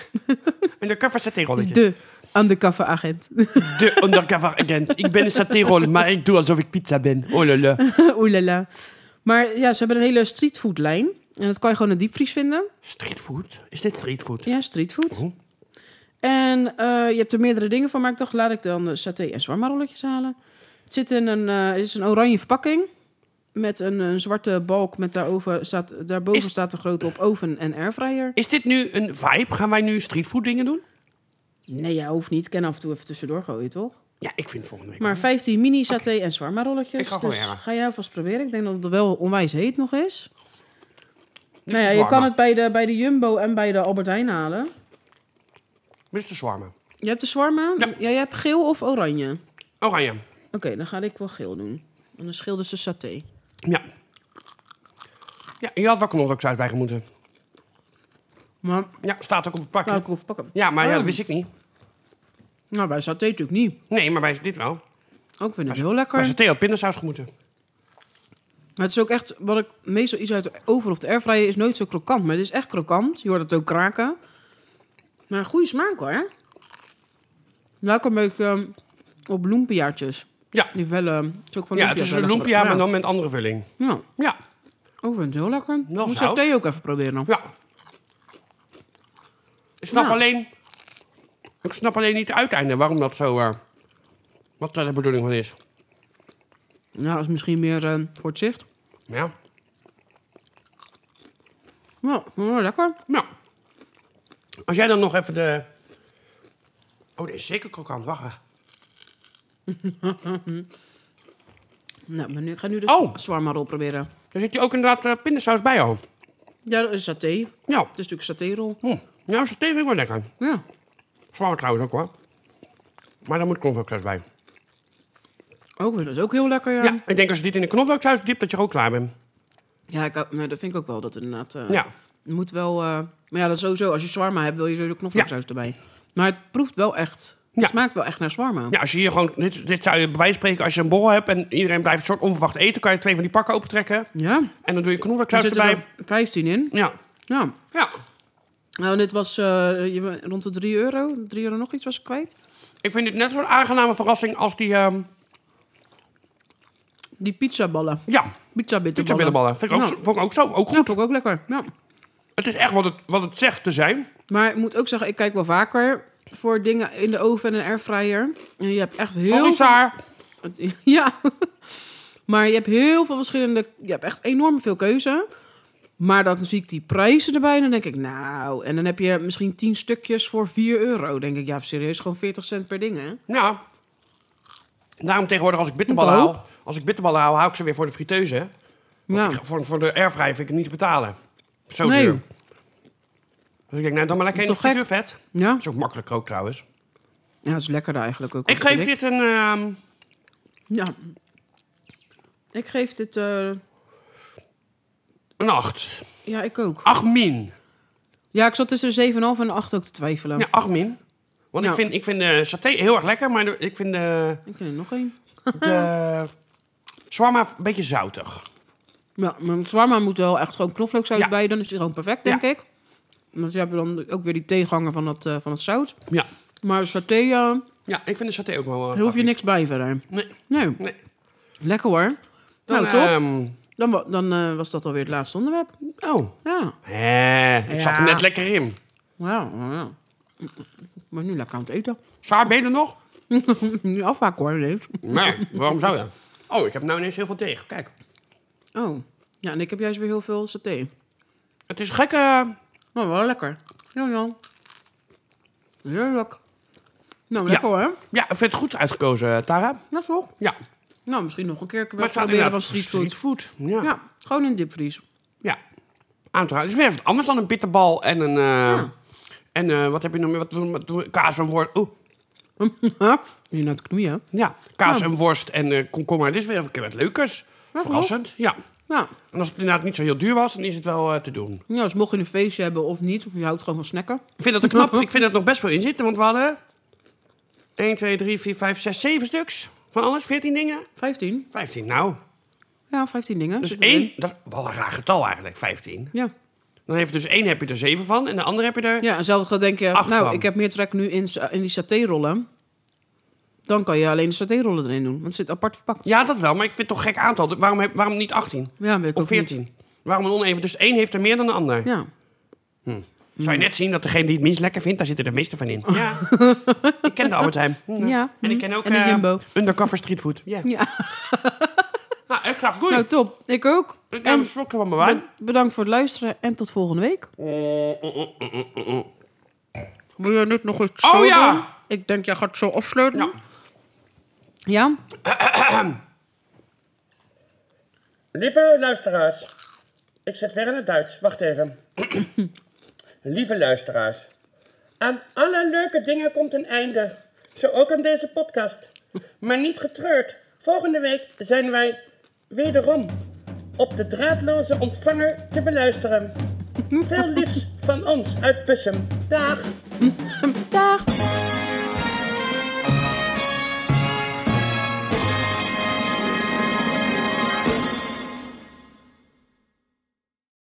Speaker 3: Undercover saté-rolletjes. De,
Speaker 2: De undercover agent.
Speaker 3: undercover agent. Ik ben een saté-rol, maar ik doe alsof ik pizza ben. Oh lala.
Speaker 2: Oelala. Maar ja, ze hebben een hele streetfoodlijn. En dat kan je gewoon in de diepvries vinden.
Speaker 3: Streetfood? Is dit streetfood?
Speaker 2: Ja, streetfood.
Speaker 3: Oh.
Speaker 2: En eh, je hebt er meerdere dingen van, maar ik dacht, laat ik dan eh, saté en zwarma rolletjes halen. Het zit in een, eh, het is een oranje verpakking met een, een zwarte balk met daarover staat, daarboven
Speaker 3: Is-
Speaker 2: staat er groot op oven en airfryer.
Speaker 3: Is dit nu een vibe? Gaan wij nu streetfood dingen doen?
Speaker 2: Nee, ja, hoeft niet. Ik kan af en toe even tussendoor gooien, toch?
Speaker 3: Ja, ik vind volgende week.
Speaker 2: Maar 15 mini saté en zwarma rolletjes.
Speaker 3: Ik ga gewoon
Speaker 2: dus
Speaker 3: eraan.
Speaker 2: ga je nou vast proberen. Ik denk dat het wel onwijs heet nog is.
Speaker 3: Dit
Speaker 2: Nou ja,
Speaker 3: is
Speaker 2: je kan
Speaker 3: zwarme.
Speaker 2: het bij de, bij de Jumbo en bij de Albert Heijn halen.
Speaker 3: Dit is de zwarme.
Speaker 2: Je hebt de zwarma.
Speaker 3: Ja.
Speaker 2: Ja. jij hebt geel of oranje.
Speaker 3: Oranje.
Speaker 2: Oké, dan ga ik wel geel doen. En dan scheelt dus de saté.
Speaker 3: Ja. Ja, je had wel knoflooksaus bij moeten.
Speaker 2: Maar
Speaker 3: Ja, staat ook op het pakje.
Speaker 2: nou, ik hoef pakken.
Speaker 3: Ja, maar ja, dat
Speaker 2: Oh.
Speaker 3: wist ik niet.
Speaker 2: Nou, bij saté natuurlijk niet.
Speaker 3: Nee, maar bij dit wel.
Speaker 2: Ook vind ik heel lekker.
Speaker 3: Maar
Speaker 2: Maar,
Speaker 3: saté had pindasaus gemoeten.
Speaker 2: het is ook echt, wat ik meestal iets uit de oven of de airfryer is nooit zo krokant. Maar dit is echt krokant. Je hoort het ook kraken. Maar een goede smaak hoor. hè? Lijkt een beetje ehm, op loempiaartjes.
Speaker 3: Ja.
Speaker 2: Die wel, ehm, het is ook van
Speaker 3: Ja, het is een
Speaker 2: wel
Speaker 3: lumpia, maar
Speaker 2: lekker.
Speaker 3: dan met andere vulling.
Speaker 2: Ja, ja.
Speaker 3: Ja,
Speaker 2: ook vind ik heel lekker.
Speaker 3: Wel
Speaker 2: Moet
Speaker 3: zout.
Speaker 2: saté ook even proberen dan.
Speaker 3: ja. Ik snap
Speaker 2: Ja.
Speaker 3: alleen... Ik snap alleen niet het uiteinde, waarom dat zo... eh, wat daar de bedoeling van is.
Speaker 2: Ja, dat is misschien meer ehm, voor het zicht.
Speaker 3: Ja.
Speaker 2: Ja, heel lekker.
Speaker 3: Nou. Als jij dan nog even de... Oh, dit is zeker krokant, wacht. even.
Speaker 2: Nou, maar nu, ik ga nu de
Speaker 3: Oh.
Speaker 2: zwarma rol proberen.
Speaker 3: Daar zit je ook inderdaad eh, pindasaus bij al.
Speaker 2: Ja, dat is saté. Het
Speaker 3: Nou,
Speaker 2: is natuurlijk satérol.
Speaker 3: hm. nou saté vind ik wel lekker.
Speaker 2: Ja.
Speaker 3: Zwaar trouwens ook hoor. Maar daar moet knoflooksaus bij.
Speaker 2: Ook, Oh, dat is ook heel lekker, ja.
Speaker 3: Ja, ik denk als je dit in de knoflooksaus dipt, dat je er ook klaar bent.
Speaker 2: Ja, ik, nou, dat vind ik ook wel. Dat inderdaad. eh,
Speaker 3: Ja.
Speaker 2: het Moet wel. eh, maar ja, dat is sowieso. Als je shawarma hebt, wil je er de knoflooksaus erbij. Maar het proeft wel echt. Het
Speaker 3: Ja.
Speaker 2: smaakt wel echt naar shawarma.
Speaker 3: Ja, als je hier gewoon, dit, dit zou je bij wijze van spreken als je een borrel hebt en iedereen blijft een soort onverwacht eten, kan je twee van die pakken opentrekken
Speaker 2: Ja.
Speaker 3: en dan doe je
Speaker 2: Er
Speaker 3: knoflooksaus
Speaker 2: zitten
Speaker 3: erbij.
Speaker 2: er 15 in.
Speaker 3: Ja,
Speaker 2: Ja.
Speaker 3: ja.
Speaker 2: Nou, en dit was eh, je- rond de 3 euro. 3 euro nog iets was ik kwijt.
Speaker 3: Ik vind dit net zo'n aangename verrassing als die, ehm,
Speaker 2: Die pizzaballen.
Speaker 3: ja,
Speaker 2: Pizza bitterballen.
Speaker 3: pizza billenballen. Vind ik ook,
Speaker 2: Ja.
Speaker 3: zo- vond ik ook zo, ook
Speaker 2: Ja,
Speaker 3: goed.
Speaker 2: vond ik ook lekker. Ja.
Speaker 3: Het is echt wat het, wat het zegt te zijn.
Speaker 2: Maar ik moet ook zeggen, ik kijk wel vaker voor dingen in de oven en een airfryer. En je hebt echt heel
Speaker 3: Sorry Saar.
Speaker 2: Het- Ja. Maar je hebt heel veel verschillende... Je hebt echt enorm veel keuze. Maar dan zie ik die prijzen erbij en dan denk ik, nou... En dan heb je misschien 10 stukjes voor 4 euro. denk ik, ja, serieus, gewoon 40 cent per ding, hè?
Speaker 3: Ja. Daarom tegenwoordig als ik bitterballen
Speaker 2: Hoop.
Speaker 3: haal, als ik bitterballen haal, hou ik ze weer voor de friteuse.
Speaker 2: Ja.
Speaker 3: Ik ga- Voor, voor de airfryer vind ik het niet te betalen. Zo
Speaker 2: Nee.
Speaker 3: duur. Dus ik denk, nou dan maar lekker in
Speaker 2: Is
Speaker 3: de
Speaker 2: toch gek?
Speaker 3: frituurvet. Dat
Speaker 2: Ja?
Speaker 3: is ook makkelijk ook trouwens.
Speaker 2: Ja, dat is lekkerder eigenlijk ook.
Speaker 3: Ik
Speaker 2: vind
Speaker 3: geef dit een... ehm,
Speaker 2: Ja. Ik geef dit... eh,
Speaker 3: Een 8.
Speaker 2: Ja, ik ook.
Speaker 3: 8 min.
Speaker 2: Ja, ik zat tussen 7,5 en 8 ook te twijfelen.
Speaker 3: Ja, 8 min. Want
Speaker 2: Ja.
Speaker 3: ik vind, ik vind de saté heel erg lekker, maar de- ik vind de,
Speaker 2: Ik ken er nog één.
Speaker 3: de shawarma een beetje zoutig.
Speaker 2: Ja, mijn zwarma moet wel echt gewoon knoflooksaus
Speaker 3: Ja.
Speaker 2: bij. Dan is die gewoon perfect, denk ik. Want je hebt dan ook weer die tegenhanger van, dat, eh, van het zout.
Speaker 3: Ja.
Speaker 2: Maar saté, eh
Speaker 3: Ja, ik vind de saté ook wel... eh,
Speaker 2: daar hoef je niks bij verder.
Speaker 3: Nee.
Speaker 2: Nee,
Speaker 3: nee.
Speaker 2: lekker hoor.
Speaker 3: Dan,
Speaker 2: nou, top.
Speaker 3: ehm,
Speaker 2: Dan, wa- dan eh, was dat alweer het laatste onderwerp.
Speaker 3: oh.
Speaker 2: Ja,
Speaker 3: Hè, ik zat er
Speaker 2: Ja.
Speaker 3: net lekker in.
Speaker 2: ja, ja. Ik ben nu lekker aan het eten.
Speaker 3: Saar, ben je er nog?
Speaker 2: Nu afwaken hoor, lees.
Speaker 3: Nee, waarom zou je? Oh, ik heb nou ineens heel veel tegen. Kijk,
Speaker 2: Oh, ja, en ik heb juist weer heel veel saté.
Speaker 3: het is
Speaker 2: eh,
Speaker 3: gekke...
Speaker 2: Maar wel lekker. Ja, ja. Heerlijk. Nou, lekker hoor.
Speaker 3: Ja, ik vind het goed uitgekozen, Tara.
Speaker 2: Dat is toch?
Speaker 3: Ja.
Speaker 2: Nou, misschien nog een keer
Speaker 3: Maar het staat
Speaker 2: proberen van street
Speaker 3: inderdaad
Speaker 2: food.
Speaker 3: streetfood. Ja. ja.
Speaker 2: Ja, gewoon in de diepvries.
Speaker 3: Aan te houden. Het is weer even wat anders dan een bitterbal en een... eh,
Speaker 2: Ah.
Speaker 3: En eh, wat heb je nog meer? Wat doen wat doen we? Kaas en worst. Oeh,
Speaker 2: Ja, je naar het knoeien.
Speaker 3: ja. Kaas
Speaker 2: Nou.
Speaker 3: en worst en eh komkommer. Dit is weer een keer wat leukers. Verrassend. Ja.
Speaker 2: Ja.
Speaker 3: En als het inderdaad niet zo heel duur was, dan is het wel eh, te doen.
Speaker 2: ja, dus mocht je een feestje hebben of niet, of je houdt gewoon van snacken.
Speaker 3: Ik vind dat een knap. ik vind dat nog best wel in zitten, want we hadden 1, 2, 3, 4, 5, 6, 7 stuks van alles. 14 dingen.
Speaker 2: 15.
Speaker 3: 15, nou.
Speaker 2: Ja, 15 dingen.
Speaker 3: Dus
Speaker 2: Zit erin.
Speaker 3: één, dat is wel een raar getal eigenlijk, 15.
Speaker 2: Ja.
Speaker 3: Dan heeft dus één heb je er 7 van en de andere heb je er...
Speaker 2: ja, en zelf gaat denken,
Speaker 3: Acht
Speaker 2: nou,
Speaker 3: van.
Speaker 2: ik heb meer trek nu in, sa- in die satérollen. Dan kan je alleen de satérollen erin doen, want het zit apart verpakt.
Speaker 3: Ja, dat wel, maar ik vind het toch gek aantal. Dus Waarom, heb, waarom niet 18?
Speaker 2: Ja, weet ik
Speaker 3: Of
Speaker 2: ook niet.
Speaker 3: 14? Waarom een oneven? Dus één heeft er meer dan de ander.
Speaker 2: Ja.
Speaker 3: Zou je net zien dat degene die het minst lekker vindt, daar zitten de meeste van in. Ja. ik ken de Albert Heijn.
Speaker 2: Ja.
Speaker 3: En ik ken ook
Speaker 2: En de
Speaker 3: eh,
Speaker 2: Jumbo.
Speaker 3: Undercover Streetfood. Ja.
Speaker 2: Ja,
Speaker 3: Nou, echt graag. Goed.
Speaker 2: nou top. Ik ook.
Speaker 3: ik neem een
Speaker 2: En
Speaker 3: slokje van mijn wijn.
Speaker 2: bedankt voor het luisteren en tot volgende week. Wil jij dit nog eens
Speaker 3: zo doen?
Speaker 2: Ik denk, jij gaat zo afsluiten.
Speaker 3: Ja.
Speaker 2: Ja?
Speaker 1: Lieve luisteraars. Ik zit weer in het Duits. Wacht even. Lieve luisteraars. Aan alle leuke dingen komt een einde. Zo ook aan deze podcast. Maar niet getreurd. Volgende week zijn wij wederom op de draadloze ontvanger te beluisteren. Veel liefs van ons uit Bussum. Dag.
Speaker 2: Dag!